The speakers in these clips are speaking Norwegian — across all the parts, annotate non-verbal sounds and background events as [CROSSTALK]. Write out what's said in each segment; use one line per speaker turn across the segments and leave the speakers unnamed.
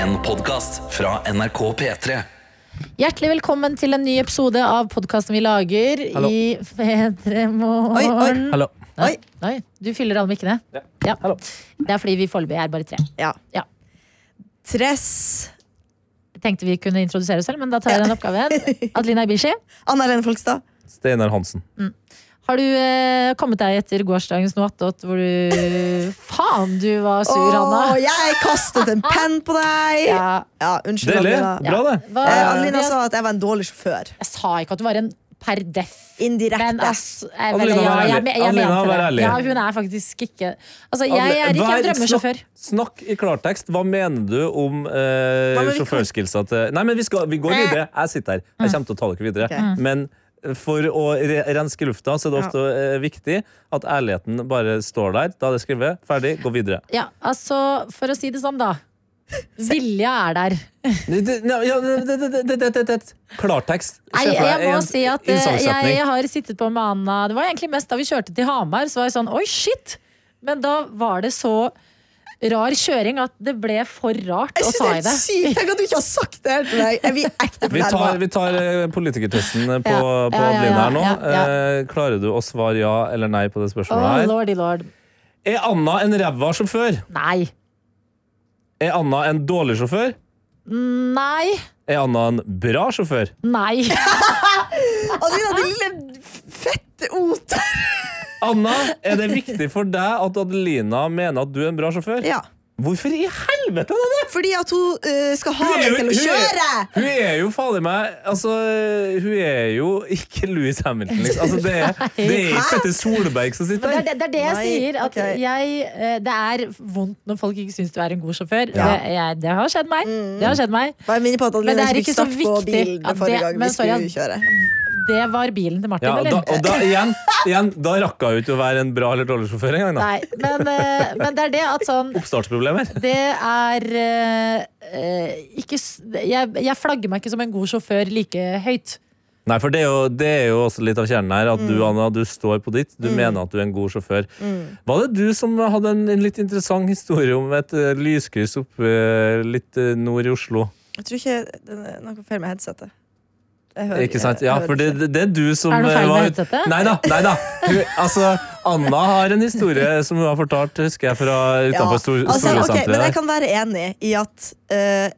En podcast fra NRK P3
Hjertelig velkommen til en ny episode av podkasten vi lager
Hallo.
i Fedremorgen.
Hallo.
Nei, nei, du fyller alle mikkene? Ja.
Hallo.
Det er fordi vi foreløpig er bare tre.
Ja.
Ja.
Tress.
Jeg tenkte vi kunne introdusere oss selv, men da tar jeg den
[LAUGHS]
oppgaven. Adelina Ibishi,
Anna Helene Folkstad.
Steinar Hansen.
har du eh, kommet deg etter gårsdagens noatot hvor
[LAUGHS]
du Faen, du var sur,
Åh,
[LAUGHS] Hanna.
jeg kastet en penn på deg! Ja,
Ja.
unnskyld,
Deilig.
Adelina.
Bra, det.
Hva,
Eh, Adelina
jeg,
sa at jeg var en dårlig sjåfør.
jeg sa ikke at du var en per deff.
Indirekte.
Men ass, jeg,
Adelina,
ja,
vær
jeg,
ærlig.
jeg, jeg
Adelina,
mente
vær
det.
ærlig.
Ja, hun er faktisk ikke Altså, jeg
Alle-
er ikke en
vær-
drømmesjåfør.
Snakk, snakk i klartekst. Hå mener du om eh,
Nei, men vi
sjåførskillsa til Nei, men vi, skal, vi går videre. Jeg sitter her. Jeg kommer til å ta dere videre.
Mm.
Ok.
Men for å re renske lufta så er det ofte eh, viktig at ærligheten bare står der. Da er det skrevet. Ferdig. Gå videre.
Ja, altså, for å si det sånn, da. Vilja er der.
Det- det- ja, ja, det- det- det- det- det- det- Klartekst. Se
Nei,
for deg
jeg må
en
si at eh,
innsalgssetning.
jeg har sittet på med Anna Det var egentlig mest da vi kjørte til Hamar, så var jeg sånn oi, shit! Men da var det så rar kjøring at det ble for rart
Jeg
å
synes
ta i
det er
det.
sykt! Tenk at du ikke har sagt det her til deg! Jeg blir ekte
Vi tar,
fornærma.
vi tar eh, politikertesten eh, på,
Ja. Ja,
på
ja,
Adeline
ja,
her nå.
ja,
Eh, klarer du å svare ja eller nei på det
Å,
spørsmålet her?
lordy lord.
Er Anna en ræva sjåfør?
Nei.
Er Anna en dårlig sjåfør?
Nei.
Er Anna en bra sjåfør? [LAUGHS]
Nei.
Adelina, din lille fette oter.
Anna, er det viktig for deg at Adelina mener at du er en bra sjåfør?
Ja.
Hvorfor i helvete er det det?!
Fordi at hun eh, skal ha deg til å kjøre!
hun er jo fader meg Altså, hun er jo ikke Louis Hamilton, liksom. Altså, det, er, det er ikke Petter Solberg som sitter
Det
der.
er det, det, er det jeg
Nei,
sier. At
ok.
jeg, eh, det er vondt når folk ikke syns du er en god sjåfør.
Ja. Mm.
Det, jeg, det har skjedd meg. Det har skjedd meg.
Bare minne på at
Men det
Adelina
er
ikke
ikke
fikk
så
start på
viktig
bilen
at
den forrige
det-
gangen
men
vi
sorry,
skulle kjøre.
Det var bilen til Martin,
Ja,
eller?
da, og da, igjen, igjen, da rakka hun ikke å være en bra eller dårlig sjåfør engang. da.
Nei, men, eh, men det er det at sånn
Oppstartsproblemer.
Det er eh, eh, ikke s- jeg, jeg flagger meg ikke som en god sjåfør like høyt.
Nei, for det er, jo, det er jo også litt av kjernen her. At du,
Mm.
Anna, du står på ditt. Du mener at du er en god sjåfør. Var det du som hadde en, en litt interessant historie om et eh, lyskryss oppe eh, litt eh, nord i Oslo?
Jeg tror ikke det er noe feil med headsetet. Jeg hører-
Ikke sant?
jeg
Ja,
hører
for det,
ikke.
det, det er du som
Er det noe
eh,
feil med
var-
headsetet?
Nei da. Nei da. Hun, altså, Anna har en historie som hun har fortalt, husker jeg, fra utenfor Stor
altså, ok,
Storosenteret.
Men jeg
der.
kan være enig i at eh,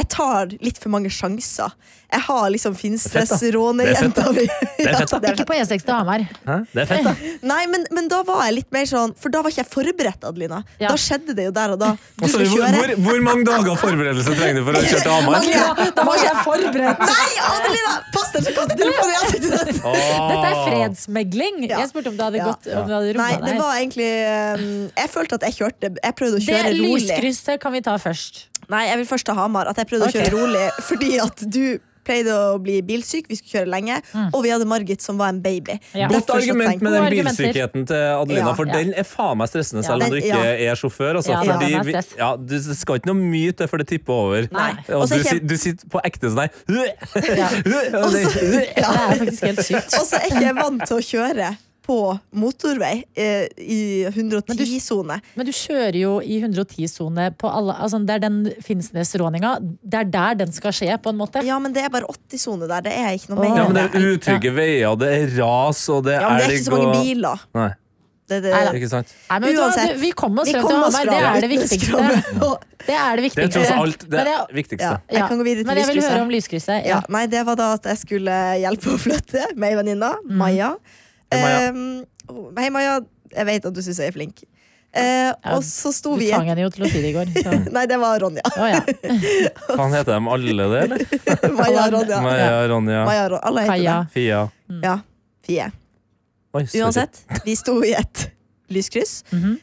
jeg tar litt for mange sjanser. Jeg har liksom Finnsnes,
Det Det er fett,
Råne-jenta mi.
er fett, da.
[LAUGHS] Ja, det er
[LAUGHS]
Ikke på E6 til Hamar.
Hæ? Det er fett, da.
Nei, men, men da var jeg litt mer sånn For da var ikke jeg forberedt, Adelina.
Ja.
Da skjedde det jo der og da. Du
Altså,
skal
hvor,
kjøre.
hvor, hvor mange dager forberedelse trenger du for å kjøre til Hamar?
Adelina,
Da var ikke jeg forberedt!
Nei, Adelina! Pass deg, så kaster du telefonen i ansiktet ditt!
Dette er fredsmegling!
Ja.
Jeg spurte om du hadde
Ja.
gått om du hadde
Nei,
roet
det
deg.
var egentlig eh, Jeg følte at jeg kjørte Jeg prøvde å
Det
kjøre rolig.
lyskrysset kan vi ta først.
Nei, jeg vil først ta Hamar. At jeg prøvde
Ok.
å kjøre rolig fordi at du pleide å bli bilsyk, vi skulle kjøre lenge, og vi hadde Margit som var en baby.
Mm. Ja.
Derfor
Godt
så
argument
tenkte-
med den
Gode argumenter.
bilsykheten til Adelina,
Ja.
for
Ja.
den er faen meg stressende, selv om
Den-
du ikke er sjåfør. Altså,
Ja,
fordi
den er
vi,
stress.
ja, du, det skal ikke noe mye til for det tipper over.
Nei.
Og
Og så
du,
kjem-
sit- du sitter på ekte sånn [LAUGHS] her
Ja.
Og [LAUGHS] det-
Det er faktisk helt sykt.
altså, Og så er ikke jeg vant til å kjøre på motorvei eh, i 110-sone.
Men du kjører jo i 110-sone på alle altså Det er den Finnsnes-råninga. Det er der den skal skje, på en måte.
Ja, men det er bare 80-sone der. Det er ikke noe
Åh.
mer.
Ja, men det
enn
er utrygge veier, det er ras, og det er
Ja, men det er ikke så mange
og-
biler.
Nei,
Det, er det,
Nei da.
ikke sant?
Nei, men vet du, hva?
Uansett,
Du- vi kom oss
vi
frem til
kom oss
Hamar. Det
fra
er det viktigste. [LAUGHS]
vitneskravet. Og-
Det er det
Det
viktigste.
er tross alt det
Men jeg-
viktigste.
Ja, jeg kan gå videre til
Men jeg vil
lyskrysset.
høre om lyskrysset.
Ja,
Ja.
nei, det var da at jeg skulle hjelpe å flytte med ei venninne, Maja.
Hei, Maja.
Ehm, oh, hei, Maja. Jeg vet at du syns jeg er flink. Eh,
Ja,
og så sto
Du
vi i
tvang
et
henne jo til å si det i går.
[LAUGHS]
Så.
Nei, det var Ronja.
Å, ja.
Kan hete dem alle det, eller?
Maja, Ronja.
Maja, Ronja,
Maja, Ron- alle heter
Kaja.
det.
Fia
Ja, Fie.
Oi, sorry.
Uansett, vi sto i et lyskryss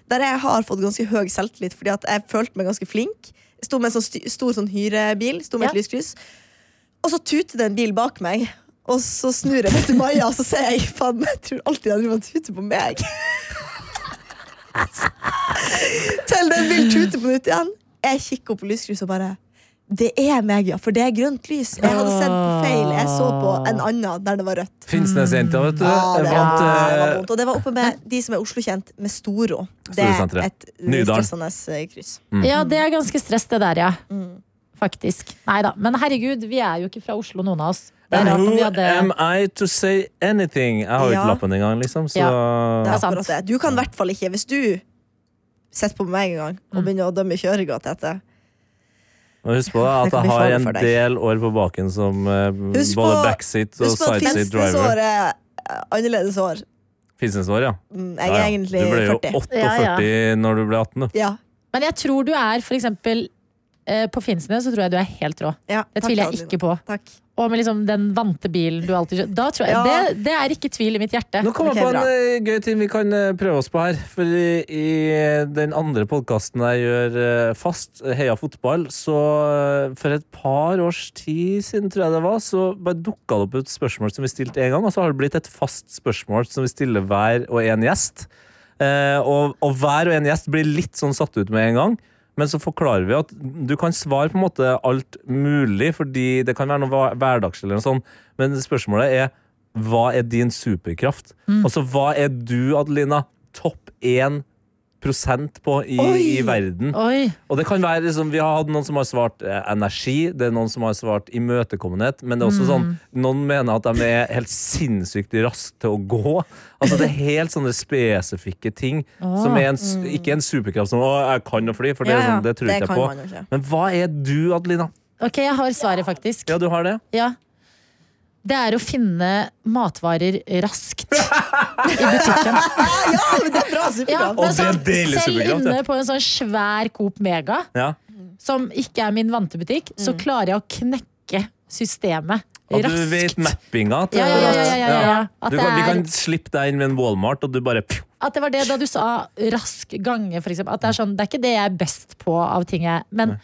der jeg har fått ganske høy selvtillit, fordi at jeg følte meg ganske flink. Jeg Sto med en sånn sti- stor sånn hyrebil, sto med et
Ja.
lyskryss. Og så tuter det en bil bak meg, og så snur jeg meg til Maja, og så ser jeg faen, jeg tror alltid den driver og tuter på meg. [LAUGHS] Til den vil tute på nytt igjen. Jeg kikker opp på lyskrysset og bare det er meg, ja, for det er grønt lys. Jeg hadde sett på feil. Jeg så på en annen der det var rødt.
Finnsnesjenta, vet du.
Ja, Ah, det var,
vant,
det var
eh,
vondt. Og det var oppe med de som er Oslo-kjent, med Storo. Det er
Storosenteret.
et
Nydalen.
stressende eh, kryss. Mm.
ja, det er ganske stress, det der, ja. faktisk. Nei da. Men herregud, vi er jo ikke fra Oslo, noen av oss. Det er
And
rart om
who
vi hadde
am I to say anything? Jeg har jo
Ja.
ikke lappen engang, liksom. Så
Det
Ja.
er akkurat det. Du kan i hvert fall ikke, hvis du sitter på meg en gang
Mm.
og begynner å dømme kjøringa til dette.
Men husk på da,
[LAUGHS] Det
at
kan bli
jeg har
farlig
en
for deg.
del år på baken som eh,
Husk på-
både backseat og
Husk på at
sideseat driver.
finstensår er eh, annerledes år.
Finnsnesår, ja.
Mm,
Ja,
Jeg er
ja.
egentlig
Du ble jo
40.
48
Ja,
når du ble 18, du.
Ja,
Men jeg tror du er, for eksempel eh, på Finnsnes, så tror jeg du er helt rå.
ja,
Det
takk,
tviler jeg
Adelina.
ikke på.
Takk.
Og med liksom den vante bilen du alltid kjører. Da tror jeg,
Ja.
det, det er ikke tvil i mitt hjerte.
Nå kommer jeg
Ok,
på en eh, gøy ting vi kan eh, prøve oss på her. For i, i eh, den andre podkasten jeg gjør eh, fast, Heia fotball, så eh, for et par års tid siden, tror jeg det var, så bare dukka det opp et spørsmål som vi stilte én gang, og så har det blitt et fast spørsmål som vi stiller hver og en gjest. Eh, og, og hver og en gjest blir litt sånn satt ut med en gang. Men så forklarer vi at du kan svare på en måte alt mulig, fordi det kan være noe hva- hverdagslig eller noe sånt. Men spørsmålet er hva er din superkraft? Altså, hva er du, Adelina, topp 1 på i,
Oi!
i verden?
Oi.
Og det kan være liksom, Vi har hatt noen som har svart eh, energi, det er noen som har svart imøtekommenhet. Men det er også sånn, noen mener at de er helt sinnssykt raske til å gå. Altså Det er helt sånne spesifikke ting. Som er en, s- ikke en superkraft som 'Å, jeg kan å fly', for det, er
Ja, ja,
sånn, det tror
det
ikke
kan
jeg
man jo
på.
ikke.
Men hva er du, Adelina?
Ok, jeg har svaret, faktisk.
Ja, du har det?
Ja. Det er å finne matvarer
[LAUGHS]
raskt i butikken.
Ja, men det er bra!
Ja,
Superbra.
men
Og det er
sånn,
deilig
selv
superkraft, ja.
inne på en sånn svær Coop Mega,
Ja.
som ikke er min vante butikk, så klarer jeg å knekke systemet
At
raskt.
du vet mappinga til
Ja, ja, ja, ja, ja, ja. At
Du
det
kan, vi
er-
kan slippe deg inn med en Walmart, og du bare pju,
At det var det da du sa rask gange, for eksempel. At det er sånn, det er ikke det jeg er best på av ting jeg Men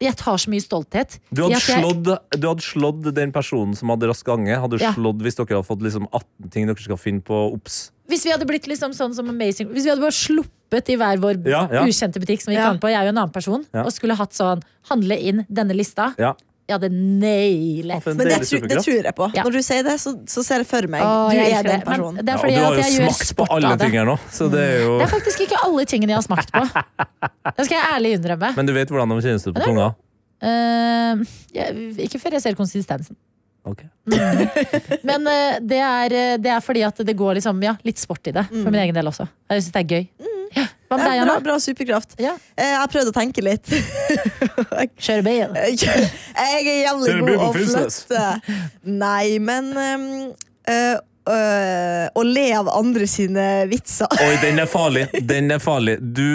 jeg tar så mye stolthet.
du hadde,
i at jeg-
slått, du hadde slått den personen som hadde rask gange. Hadde du
Ja.
slått hvis dere hadde fått liksom 18 ting dere skal finne på OBS.
Hvis vi hadde blitt liksom sånn som Amazing Hvis vi hadde bare sluppet i hver vår
Ja, ja.
ukjente butikk som vi gikk
Ja.
an på, jeg er jo en annen person,
Ja.
og skulle hatt sånn handle inn denne lista,
Ja.
jeg hadde nailet.
for en
Men det,
deilig
tru, det
superkraft.
tror jeg på.
Ja.
Når du sier det, så, så ser jeg for meg.
Åh,
Du
jeg
er
elsker
den
det. Men
personen.
Det er
Ja, og
fordi
du har
at
jo
jeg gjør
smakt på
sport
alle
av det. Mm.
ting her nå, så det er jo
Det er faktisk ikke alle tingene jeg har smakt på.
[LAUGHS]
Det skal jeg ærlig innrømme.
Men du vet hvordan de kjennes ut på tunga?
Eh, jeg, ikke før jeg ser konsistensen.
Ok.
Men eh, det, er, eh, det er fordi at det går liksom, ja, litt sport i det, for min egen del også. Jeg syns det er gøy. Ja. Hva
Mm. Det
med deg,
er bra,
Anna?
bra superkraft.
Ja.
Eh, Jeg har prøvd å tenke litt. [LAUGHS]
Kjøre bil.
Jeg er jævlig
Dere blir
god å
på Finnsnes.
flytte. Nei, men ehm, øh, øh, Å le av andre sine vitser.
Oi, den er farlig. Den er farlig. Du,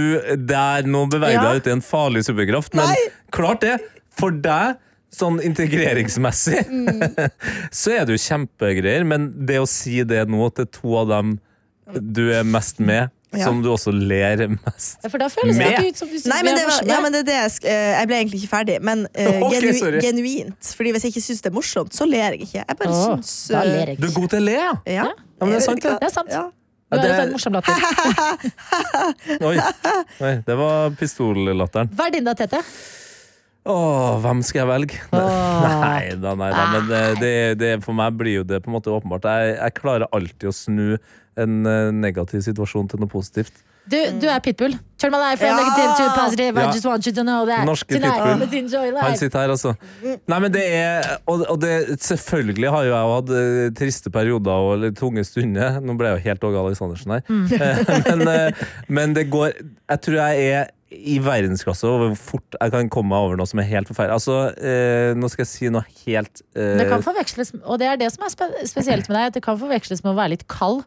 der, nå beveger du
Ja.
deg ut i en farlig superkraft, men klart det. For deg, sånn integreringsmessig,
Mm.
[LAUGHS] så er det jo kjempegreier, men det å si det nå til to av dem du er mest med,
Ja.
som du også ler mest
For da føles det
Med.
ikke ut som du syns vi
Nei, men det,
er
var, ja,
morsomme.
men det er det jeg, sk- eh, jeg ble egentlig ikke ferdig, men eh,
[LAUGHS] Ok,
genu,
sorry.
genuint. Fordi Hvis jeg ikke syns det er morsomt, så ler jeg ikke. Jeg bare
Åh,
syns
Da
eh,
ler jeg
Du er
ikke.
god til å le, ja.
Ja.
men det er sant,
Det er sant.
Ja.
Du har
det-
jo en morsom latter.
Oi, Oi det var pistollatteren.
Vertinna Tete.
Å, hvem skal jeg velge? Nei da, nei da. Men eh, det, det, for meg blir jo det på en måte åpenbart. Jeg, jeg klarer alltid å snu en eh, negativ situasjon til noe positivt.
Du, du er pitbull. Turn my life from
Ja.
negative to positive. I
Ja.
just want you to know that.
Norske
Tonight,
pitbull.
let's enjoy life.
Han sitter her, altså. Nei, men det er Og, og det, selvfølgelig har jo jeg hatt eh, triste perioder og litt tunge stunder. Nå ble jeg jo helt Åge Aleksandersen her.
Mm.
Eh, men, eh, men det går Jeg tror jeg er i verdensklasse over hvor fort jeg kan komme meg over noe som er helt forferdelig. Altså, eh, nå skal jeg si noe helt eh,
Det kan forveksles, og det er det som er spe spesielt med deg, at det kan forveksles med å være litt kald.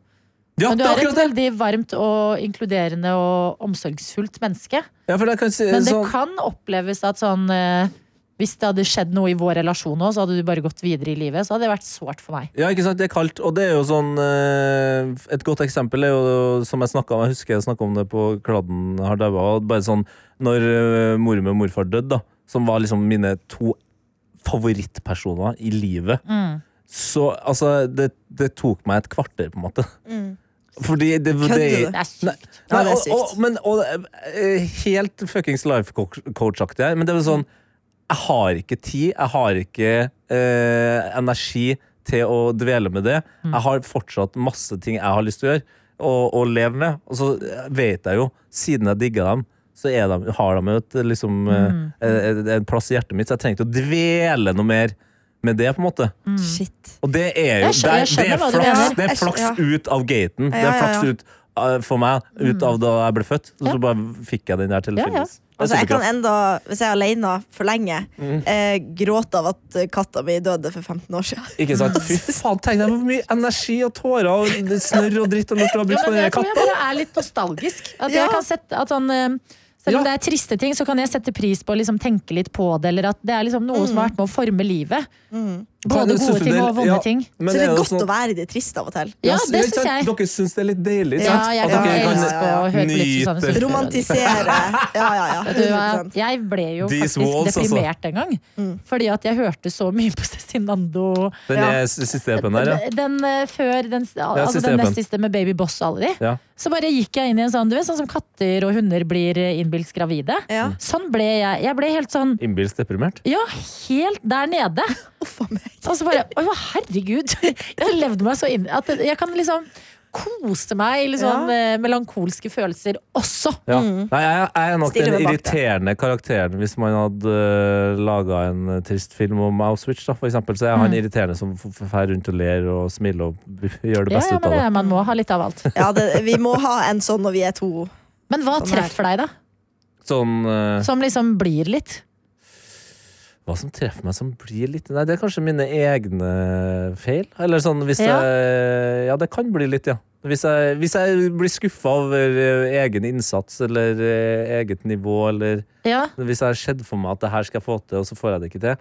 Ja,
Men du
det er
er et
akkurat det!
veldig varmt og inkluderende og omsorgsfullt menneske.
Ja, for jeg kan si,
Men det
sånn,
kan oppleves at sånn eh, Hvis det hadde skjedd noe i vår relasjon nå, så hadde du bare gått videre i livet. Så hadde det vært sårt for meg.
Ja, ikke sant, det er kaldt, og det er jo sånn eh, Et godt eksempel er jo som jeg snakka om, jeg husker jeg snakka om det på Kladden har daua, og bare sånn når eh, mor med morfar døde, da, som var liksom mine to favorittpersoner i livet,
Mm.
så altså det, det tok meg et kvarter, på en måte. Fordi det, det,
Mm. Kødder du?
Det er
Nei,
sykt.
Ja,
nei,
det er
og, og,
sykt.
men, og, eh, helt fuckings life coach-aktig her, men det er jo sånn Jeg har ikke tid, jeg har ikke eh, energi til å dvele med det.
Mm.
Jeg har fortsatt masse ting jeg har lyst til å gjøre og, og leve med. Og så vet jeg jo, siden jeg digger dem, så er de, har de jo et, liksom,
Mm.
eh, en, en plass i hjertet mitt, så jeg trenger ikke å dvele noe mer med det, på en måte.
Mm.
Shit.
Og det er jo
Jeg skjø- jeg
det, det
skjønner
er
hva du
flaks,
mener.
det
Jeg
er
skj-
flaks
ja.
ut av gaten.
Ja,
Det er
ja,
flaks
ja.
ut eh, for meg, ut av da jeg ble født. Og så bare fikk jeg den
Mm. Ja,
der
ja.
tilfeldigvis. Det er Mm.
Altså, jeg kan
superkraft.
enda, hvis jeg er alene for lenge, eh, gråte av at katta mi døde for 15 år siden.
Ikke sant?
[LAUGHS]
Fy faen, tenk deg hvor mye energi og tårer og snørr og dritt og lort du har
Ja,
brukt på
men
den der
jeg tror jeg
katta.
bare er litt nostalgisk. At
Ja.
jeg kan sette at sånn eh, selv om
Ja.
det er triste ting, så kan jeg sette pris på å liksom tenke litt på det. Eller at det er liksom noe som har vært med å forme livet. Mm. Både
Synes
gode
du
ting
det-
og vonde
ja,
ting.
men
Så det er
jo
godt
sånn-
å være i det triste av og til.
Ja,
s-
det
ikke
syns
sant?
jeg.
Dere syns det er litt deilig, ikke
Ja,
sant?
jeg
At
kan
dere
ja,
kan-
elske å høre på litt
nyte-
Susanne Sundfør.
Romantisere. Ja, ja, ja.
Vet du hva? Mm.
100%.
Jeg ble jo
These
faktisk
walls, altså.
deprimert en gang. Fordi at jeg hørte så mye på Cezinando.
Den er s- siste EP-en der, ja.
Den eh, før den, altså
siste
den
EP-en.
nest siste med Baby Boss og alle de.
ja.
Så bare gikk jeg inn i en sånn, du vet, sånn som katter og hunder blir eh, innbilt gravide.
Ja.
Sånn ble jeg. Jeg ble helt sånn
Innbilsk deprimert.
ja, helt der nede.
Uff a meg.
Og så bare
[LAUGHS]
Å, herregud! Jeg levde meg så inn at jeg kan liksom kose meg i litt sånn
Ja.
eh, melankolske følelser også.
Ja. Nei, jeg, jeg er nok
Stiller
den
meg bak det.
irriterende karakteren hvis man hadde uh, laga en eh, trist film om Auschwitz, da, for eksempel. Så er han irriterende som drar rundt og ler og smiler og [LAUGHS] gjør det
Ja,
beste
ja,
ut
men
av
det,
det.
er- man må ha litt av
[LAUGHS]
alt.
Ja, det, vi må ha en sånn når vi er to.
Men hva
Sånn her.
treffer deg, da?
Sånn eh,
Som liksom blir litt.
Hva som treffer meg som blir litt Nei, det er kanskje mine egne feil. Eller sånn hvis
Ja.
jeg Ja, det kan bli litt, ja. Hvis jeg, hvis jeg blir skuffa over eh, egen innsats eller eh, eget nivå eller
Ja.
Hvis jeg har sett for meg at det her skal jeg få til, og så får jeg det ikke til,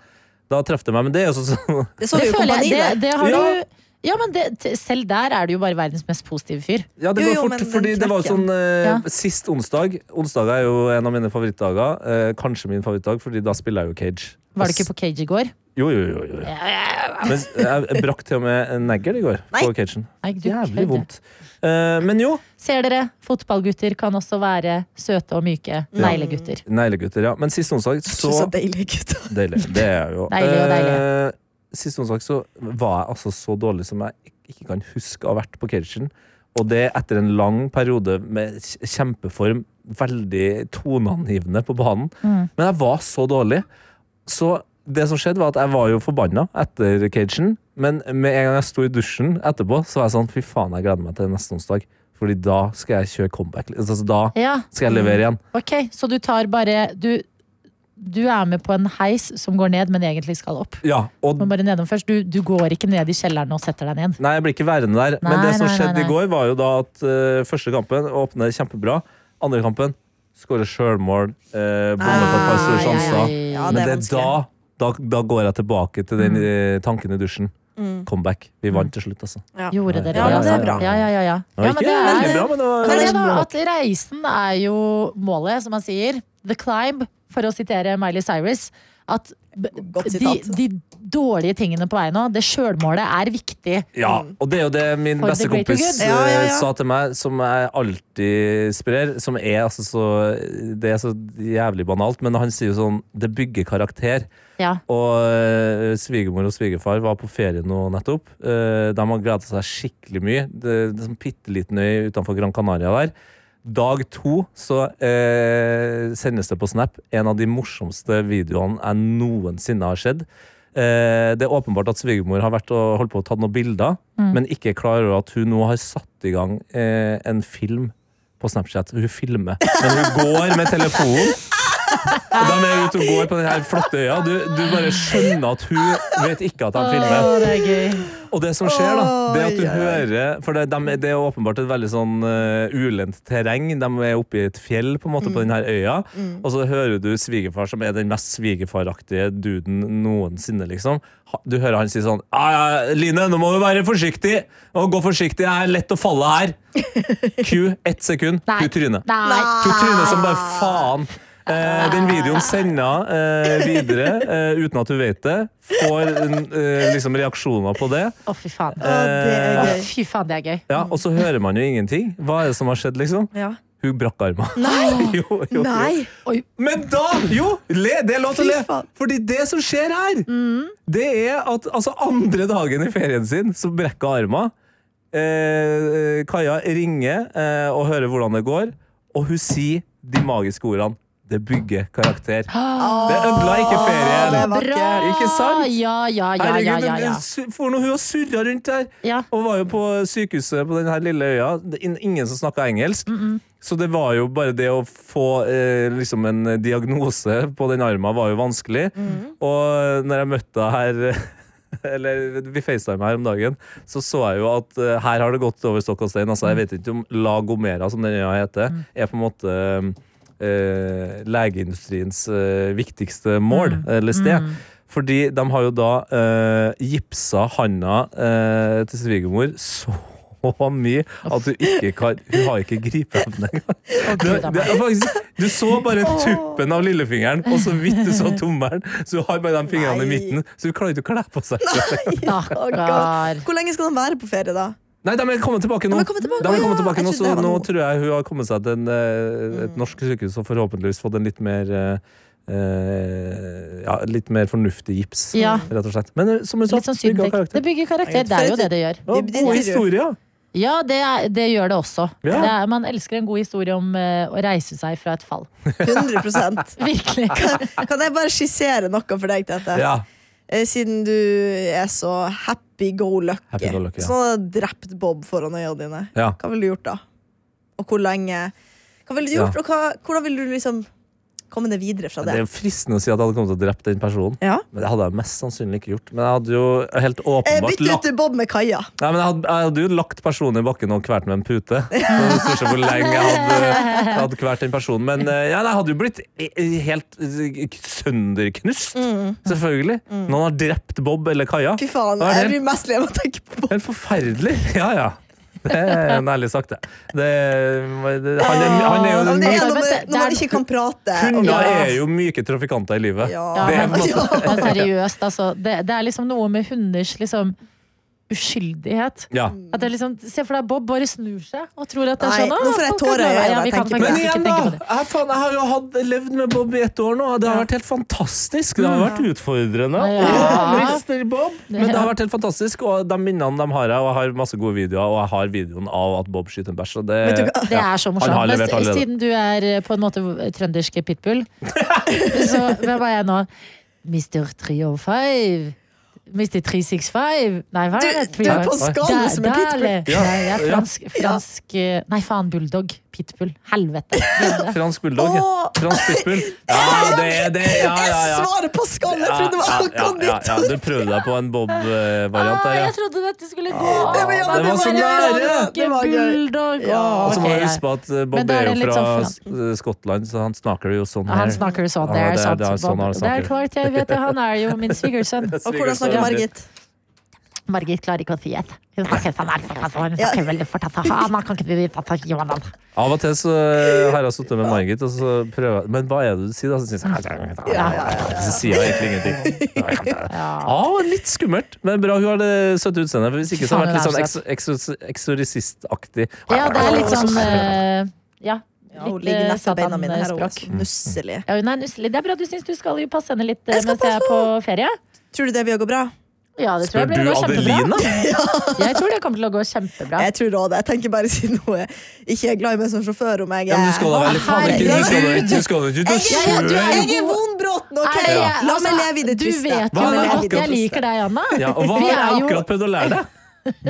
da traff det meg. Men det er jo sånn sånn-
Det så
Det
vi jo i
føler
Kompani,
jeg. Det,
det.
det har
Ja.
du Ja, men det, t- selv der er du jo bare verdens mest positive fyr.
Ja, det
Jo,
går
jo,
fort,
men den
fordi det var
knekken.
sånn eh,
Ja.
Sist onsdag Onsdag er jo en av mine favorittdager. Eh, kanskje min favorittdag, fordi da spiller jeg jo Cage.
Var du ikke på Cage i går?
Jo, jo, jo. jo. jo. Men jeg jeg brakk til og med en negl i går
Nei.
på cagen.
Nei, du
Jævlig
kødder.
vondt. Eh, men jo.
Ser dere, fotballgutter kan også være søte og myke neglegutter.
Neglegutter, ja. Men sist onsdag
Så, så
så
deilig, gutta.
Deilig. Det er jeg jo.
Deilig og deilig.
Eh, Sist onsdag så var jeg altså så dårlig som jeg ik- ikke kan huske å ha vært på cagen. Og det etter en lang periode med kj- kjempeform, veldig toneangivende på banen.
Mm.
Men jeg var så dårlig. Så det som skjedde, var at jeg var jo forbanna etter cagen. Men med en gang jeg sto i dusjen etterpå, så var jeg sånn fy faen, jeg gleder meg til neste onsdag. Fordi da skal jeg kjøre comeback. Altså, da
Ja,
skal jeg levere igjen.
ok, så du tar bare du, du er med på en heis som går ned, men egentlig skal opp.
Ja, og
Du må bare nedom først. Du, du går ikke ned i kjelleren og setter deg ned.
Nei, jeg blir ikke værende der. Men
Nei,
det som
nei, nei,
skjedde
nei.
i går, var jo da at eh, første kampen åpner kjempebra. Andre kampen skårer sjølmål, uh, bommer på et par store
Ah,
sjanser.
Ja,
Men
det
det
er
er
vanskelig.
da, da, da går jeg tilbake til den
Mm.
eh, tanken i dusjen. Comeback. Vi vant til slutt, altså.
Ja.
Gjorde dere
Ja, men det er
altså?
bra.
Ja, ja, ja, ja.
Det
Mm. ja
var
men
ikke
det
veldig
er,
bra, men det var
men det da,
bra.
at reisen er jo målet, som man sier. The climb, for å sitere Miley Cyrus. At b-
Godt
de,
sitat.
de dårlige tingene på vei nå, det sjølmålet er viktig.
Ja, og det er jo det min
For the
beste
greater
kompis
good.
Ja, ja,
eh,
ja.
sa til meg, som jeg alltid sprer, som er altså så Det er så jævlig banalt, men han sier jo sånn Det bygger karakter.
Ja.
Og eh, svigermor og svigerfar var på ferie nå nettopp. Eh, de har gleda seg skikkelig mye. Det, det er en bitte liten øy utenfor Gran Canaria der. Dag to så eh, sendes det på Snap en av de morsomste videoene jeg noensinne har sett. Eh, det er åpenbart at svigermor har vært og holdt på å ta noen bilder, men ikke klarer over at hun nå har satt i gang eh, en film på Snapchat. Hun filmer, men hun går med telefonen. Og de er ute og går på den her flotte øya. Du, du bare skjønner at hun vet ikke at de filmer.
Å, det er gøy.
Og det som skjer, da, det er at du
Oi, oi, oi.
hører For det, dem- det er åpenbart et veldig sånn eh, ulendt terreng. De er oppe i et fjell på en måte på
Mm.
den her øya, og så hører du svigerfar, som er den mest svigerfaraktige duden noensinne, liksom. Ha- Du hører han si sånn «Ja, ja, Line, nå må du være forsiktig! Og gå forsiktig, det er lett å falle
[LAUGHS]
her! Q, ett sekund,
Nei.
du tryner.
Nei.
To tryner som bare
Ah.
faen. Eh, den videoen sender eh, videre eh, uten at du vet det. Får eh, liksom reaksjoner på det.
Å, fy faen.
Å, det er
Å,
gøy.
fy faen, det er gøy.
Ja, Og så hører man jo ingenting. Hva er det som har skjedd, liksom?
Ja.
Hun brakk armen.
Nei!
[LAUGHS] Jo, jo, jo.
Nei!
Men da, jo! Le, det er lov til å
Fy
le.
faen.
Fordi det som skjer her, det er at altså, andre dagen i ferien sin, så brekker armen. Eh, Kaja ringer eh, og hører hvordan det går, og hun sier de magiske ordene 'det bygger karakter'. Det ødela ikke ferien.
Åh, Ah, det er
Bra!
Ikke sant?
Ja, ja, ja. ja,
Herregud,
ja, ja.
hun- su- for noe hun har surra rundt der!
Ja.
Og var jo på sykehuset på denne lille øya. Det- in- Ingen som snakka engelsk. Så det var jo bare det å få eh, liksom en diagnose på den armen var jo vanskelig. Og når jeg møtte henne her [LAUGHS] eller vi facetima her om dagen, så så jeg jo at eh, her har det gått over stokk og stein. Altså, jeg vet ikke om La Gomera, som den øya heter, er på en måte eh, legeindustriens eh, viktigste mål eller sted. Fordi de har jo da eh, gipsa handa eh, til svigermor så mye at du ikke kan Hun har ikke gripeevne engang. Det,
Gud, da
det er faktisk, du så bare tuppen av lillefingeren, og så vidt du så tommelen. Så hun har bare de fingrene i
Nei.
midten, så hun klarer ikke å kle på seg.
Stakkar.
Hvor lenge skal de være på ferie, da?
Nei, de er kommet tilbake nå.
De er kommet tilbake,
De
å
er kommet
ja,
tilbake
jeg
nå,
trodde
så
det var
nå
noe. Mm.
tror jeg hun har kommet seg til en, eh, et norsk sykehus og forhåpentligvis fått en litt mer eh, eh, ja, litt mer fornuftig gips,
Ja.
rett og slett. Men eh, som hun sa,
Litt sånn
bygga
syndekk. Det
karakter.
bygger karakter. Det er jo det det gjør.
Ja,
Det- det-
gode
det-
historier.
Ja, det, er, det gjør det også.
Ja.
Det er, man elsker en god historie om eh, å reise seg fra et fall.
100
Virkelig.
Kan jeg bare skissere noe for deg, Tete?
Ja.
Eh, Siden du er så Sånn happy go lucky.
Happy go lucky, ja.
Så nå hadde jeg drept Bob foran øynene dine.
Ja.
Hva ville du gjort da? Og hvor lenge? Hva ville du
Ja.
gjort, og hva, hvordan ville du liksom komme deg videre fra
Det
det?
er jo fristende å si at jeg hadde kommet til å drepe den personen.
Ja.
Men det hadde jeg mest sannsynlig ikke gjort. Men jeg hadde jo helt
Eh,
åpenbart
Bytte
lagt
ut Bob med Kaja.
Nei, men jeg hadde, jeg hadde jo lagt personen i bakken og kvært med en pute. Så det spørs jo hvor lenge jeg hadde, jeg hadde kvært den personen. Men eh, ja, jeg hadde jo blitt i- i- helt eh, sønderknust. Selvfølgelig. Noen har drept Bob eller Kaja.
Mm. Fy faen,
Hva er
jeg
det?
blir mest lei av å tenke på Bob.
Helt forferdelig. Ja, ja. Det er en ærlig sagt, det. det det- han, er, han er jo
Men
men-
det er noe
men-
med når man
det er-
ikke kan prate. og-
Hunder
Ja.
er jo myke trafikanter i livet.
Ja.
Ja,
Det er på
men,
en måte
men seriøst, altså. Det, det er liksom noe med hunders liksom uskyldighet.
ja.
At det er liksom, se for deg Bob bare snur seg og tror at det er
Nei,
sånn. «Å,
nå får
folk
jeg
er
tårer i
glad i meg».
øynene,
Ja, vi kan
tenker jeg.
faktisk
Men
ikke
igjen,
tenke på
da!
det.
Jeg, faen, jeg har jo hatt, levd med Bob i ett år nå. og Det har vært helt fantastisk. Det har
Mm.
vært utfordrende.
Ja.
Mister Bob. Men det har vært helt fantastisk, og de minnene de har, jeg, og jeg har masse gode videoer, og jeg har videoen av at Bob skyter en bæsj. Og det,
Det er så morsomt.
Han har
Men s-
levert allerede.
siden du er eh, på en måte trønderske pitbull, [LAUGHS] så hvem er jeg nå? Mr. 305. Mr. 365. Nei, hva er det?
Du er på skallen som en pitbull.
Ja. Nei, jeg er
Ja.
fransk, fransk eh, Nei, faen, bulldog. Pitbull. Helvete. Glem det.
Fransk bulldog.
Åh!
Fransk
[LAUGHS]
pitbull. Ja, det, det, ja, ja,
Jeg
ja.
svarer på skallen! Jeg trodde det var
ja,
alkonditt.
ja, Du prøvde deg på en Bob-variant
Ah,
der, ja.
jeg trodde dette skulle gå!
Ah, Det var- ja,
Men
det var så
bare
nære!
franske
Det var gøy.
Bulldog. Åh,
Og så må
ok,
du
ja.
huske på at eh,
Men
Bob
da er
er
det
jo
litt
fra
sånn
S- eh, Skottland, så han snakker jo sånn her.
Han snakker sånn, det
Ja,
er
det er-
sant.
det er
Bob.
sånn han
Det er
snakker.
klart jeg vet det, han er jo
[LAUGHS]
min svigersønn.
Og hvordan snakker Margit?
Margit klarer ikke å si et. Hun snakker sånn her, sånn, hun
Ja.
snakker veldig fort. altså. Ah, man kan ikke bli vitt, altså, jo, man-
Av og til så har jeg sittet med Margit, og så prøver jeg Men hva er det du sier, sånn, da? Så, sier jeg, så sier jeg egentlig ingenting.
Ja.
Ja, litt skummelt, men bra hun har det søte utseendet. For hvis ikke så har det vært litt sånn ekso- ekso- eksorisistaktig.
ja, det er litt sånn eh, Ja.
Ja, hun
Litt
ligger
eh,
nesten beina mine her. og hun er
satanspråk.
så Nusselig.
Ja, hun er nusselig. Det er bra, du syns du skal jo passe henne litt eh,
Jeg skal
mens jeg er
passe
på ferie.
Tror du det vil gå bra?
Ja, det tror
Spør
jeg blir
du
det går kjempebra.
Adelina?
Jeg tror det kommer til å gå kjempebra.
Jeg tror også det. Jeg tenker bare siden hun er- ikke er glad i meg som sjåfør, om jeg
Ja, men du skal da veldig faen ikke Du skal da- du skal da ikke ut og
Jeg er-
kjøre!
Jeg er Vonbråten, OK?
Er det-
La meg
altså,
leve i det
Du
triste.
vet
Hva
jo
er det
godt jeg
akkurat
liker deg, Anna.
Ja, og hva
Vi
har jeg
er jo-
akkurat prøvd å lære deg?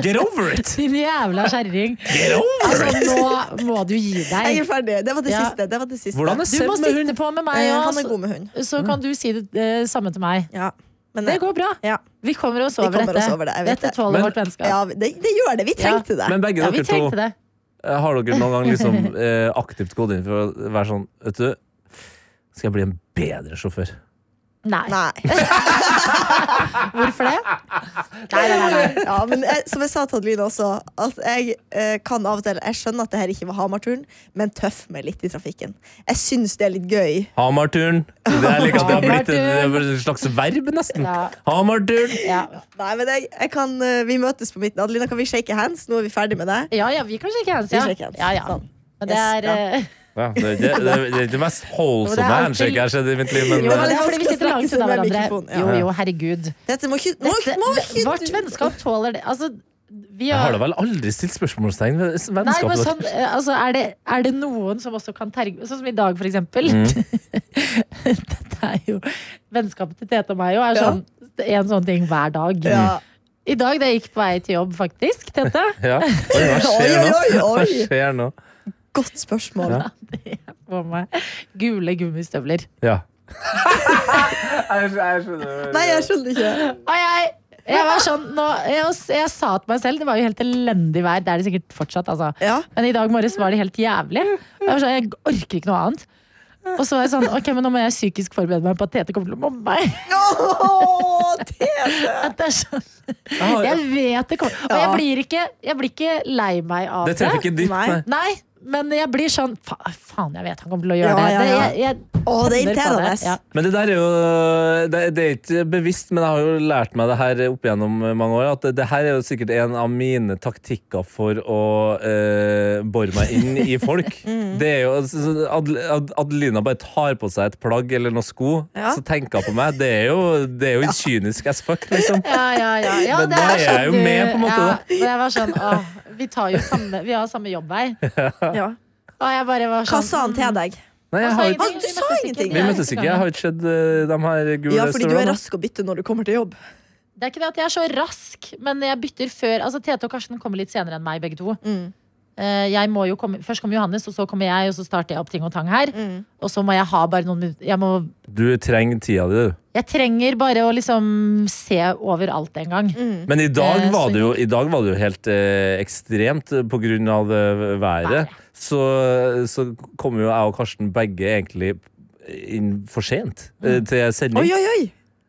Get over it!
Din jævla kjerring.
Get over
Altså,
it!
nå må du gi
Jeg
deg.
er ferdig. Det var det
Ja. altså-
siste. Det var det siste.
Hvordan er
Du må
Seb med hund?
sitte på med meg,
Eh,
og
Han er god med hund.
så, så kan du si det eh, samme til meg.
Ja. Men,
Det går bra.
Ja.
Vi kommer oss
Vi
over
kommer
dette.
oss over det, jeg vet
dette
det.
tåler
Men-
vårt vennskap.
ja, det, det gjør det. Vi trengte det.
Men begge
Ja, vi
dere to,
trengte det.
eh, har dere noen gang liksom eh, aktivt gått inn for å være sånn Vet du, skal jeg bli en bedre sjåfør?
Nei.
Nei.
Hvorfor det? Nei, nei, nei, nei.
[LAUGHS] Ja, men jeg, som jeg sa til Adeline også, at jeg eh, kan av og til Jeg skjønner at det her ikke var Hamar-turen, men tøff meg litt i trafikken. Jeg syns det er litt gøy.
Hamarturen. Det er like at det har blitt en, det har blitt et slags verb, nesten.
Ja.
Hamarturen.
Ja.
Nei, men jeg, jeg kan, eh, Vi møtes på midten. Adelina, kan vi shake hands? Nå er vi ferdig med det.
ja, ja, vi kan shake hands.
Vi
Ja.
shake hands.
Ja, ja.
Sånn.
Men det
Yes,
er
bra.
eh,
Ja, det, det, det, det er ikke det mest
Jo, det
holdsomme
er
handshake jeg har sett i mitt liv, men
Jo, men det
eh,
er fordi vi sitter langt unna hverandre. Jo, jo, herregud.
Dette må ikke, må,
Dette,
må ikke
vårt vennskap tåler det. Altså, Vi
Jeg har
har
da vel aldri stilt spørsmålstegn ved
Nei, men
vennskapet
sånn, eh, altså, er, det, er det noen som også kan terge Sånn som i dag, for eksempel. [LAUGHS] Dette er jo Vennskapet til Tete og meg jo er
Ja.
sånn, en sånn ting hver dag.
Ja.
I dag da jeg gikk på vei til jobb, faktisk, Tete
Ja. Oi, hva
[LAUGHS] Oi,
skjer
oi,
nå?
oi,
Hva
oi.
skjer nå?
Godt spørsmål.
Ja.
på meg gule gummistøvler.
Ja. jeg skjønner
Nei, jeg skjønner ikke.
Og jeg, jeg var sånn nå, jeg, jeg sa til meg selv Det var jo helt elendig vær. Det er det sikkert fortsatt, altså.
Ja.
Men i dag morges var det helt jævlig. Og jeg, var sånn, jeg orker ikke noe annet. Og så var jeg sånn, ok, men nå må jeg psykisk forberede meg på at Tete kommer til å mobbe meg.
Åh, Tete!
At det er sånn,
Ah, ja.
jeg vet det kommer. Og jeg blir ikke, jeg blir ikke lei meg av
Det
det.
treffer ikke dypt,
Nei.
nei.
Nei, men jeg blir sånn fa Faen, jeg vet han kommer til å gjøre
Ja,
det.
ja, ja.
det. Jeg, jeg,
Åh, det er
kjenner på
irriterende.
det. Ja.
Men det der er jo det, det er ikke bevisst, men jeg har jo lært meg det her opp gjennom mange år. At det, det her er jo sikkert en av mine taktikker for å eh, bore meg inn i
[LAUGHS]
folk.
Mm.
Det er jo så- så Adel- Ad- Adelina bare tar på seg et plagg eller noen sko,
Ja.
så tenker hun på meg. Det er jo, det er jo kynisk as fuck, liksom.
Ja, ja,
[LAUGHS]
ja. ja
Men
det
da
er
er jeg
sånn
jo
du-
med, på en
Ja,
måte, da.
men jeg var sånn, åh, vi, tar jo samme, vi har samme jobbvei.
Ja.
Og jeg bare var sånn
Hva sa han til deg?
Nei, jeg
Han sa
har,
ingenting,
Han-
vi
du sa
møttes ikke.
ingenting.
vi møttes ikke. Jeg har ikke sett eh, de her gule
Ja, fordi du er
støvlene.
rask å bytte når du kommer til jobb.
Det er ikke det at jeg er så rask, men jeg bytter før. Altså, Tete og Karsten kommer litt senere enn meg, begge to.
Mm.
Eh, Jeg må jo komme, først kommer Johannes, og så kommer jeg, og så starter jeg opp ting og tang her.
mm,
Og så må jeg ha bare noen minutter jeg, må-
Du trenger tida di, du.
jeg trenger bare å liksom se over alt en gang.
mm.
Men i dag
Eh,
var
så-
det jo, i dag var det jo helt eh, ekstremt eh, på grunn av eh, været.
Været.
Så, så kom jo jeg og Karsten begge egentlig inn for sent eh, til
Oi,
sending.
oi, oi!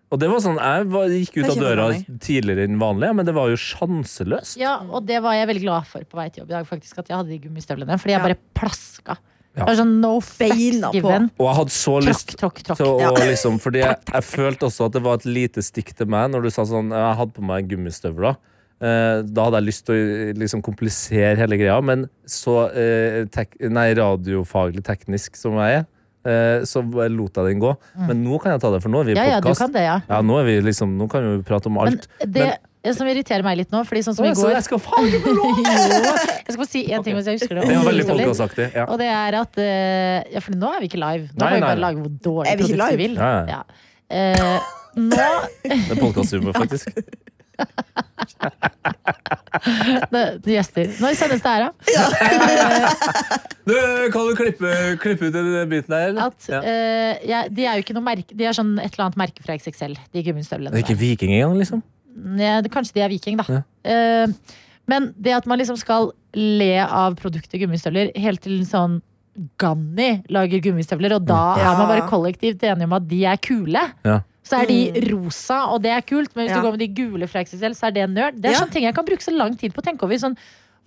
Og det var sånn, jeg var, gikk ut
Jeg
av
kjenner
døra
meg.
tidligere enn vanlig, men det var jo sjanseløst.
Ja,
Mm.
og det var jeg veldig glad for på vei til jobb i dag, faktisk, at jeg hadde de gummistøvlene. Fordi jeg
Ja.
bare plaska.
Ja.
Det var sånn no fucks
Beina på.
given.
Og jeg hadde så lyst
Tråkk, tråkk, tråkk.
til å
Ja.
liksom Fordi jeg, jeg følte også at det var et lite stikk til meg når du sa sånn Jeg hadde på meg gummistøvler. Eh, da hadde jeg lyst til å liksom komplisere hele greia, men så eh, tek nei, radiofaglig teknisk som jeg er, eh, så lot jeg den gå. Men nå kan jeg ta det, for nå er vi i
Mm. Ja, ja, du
podcast.
kan det, ja.
Ja, nå, er vi liksom, nå kan vi jo prate om
Men
alt.
det som irriterer meg litt nå, fordi sånn som
Å,
i
så
går
jeg skal faen ikke få
[LAUGHS]
lov!
Jo, jeg skal bare si én ting hvis jeg husker det.
Det var veldig
Sorry.
folkesaktig. Ja.
Og det er at eh, Ja, for nå er vi ikke live. Nå kan
Nei,
vi
nei,
bare
nei.
lage hvor dårlig
Er vi ikke
produkt vi
live?
vil.
Ja, ja.
Ja. Eh, nå [LAUGHS]
Det er podkasthumor, faktisk.
det, Gjester. Når sendes det her, da?
Du, kan du klippe, klippe ut den biten der, eller?
At,
Ja.
eh, jeg, de er jo ikke noe merke De er sånn et eller annet merke fra XXL, de gummistøvlene.
Det er ikke viking engang, liksom?
Ja, det- Kanskje de er viking, da. Eh, men det at man liksom skal le av produktet gummistøvler helt til sånn Ganni lager gummistøvler, og da
Ja.
er man bare kollektivt enige om at de er kule.
Mm. Ja.
Så er de rosa, og det er kult, men hvis
Mm. Ja.
du går med de gule fra XXL, så er det nerd. Det er
Ja.
sånne ting jeg kan bruke så lang tid på å tenke over. Sånn,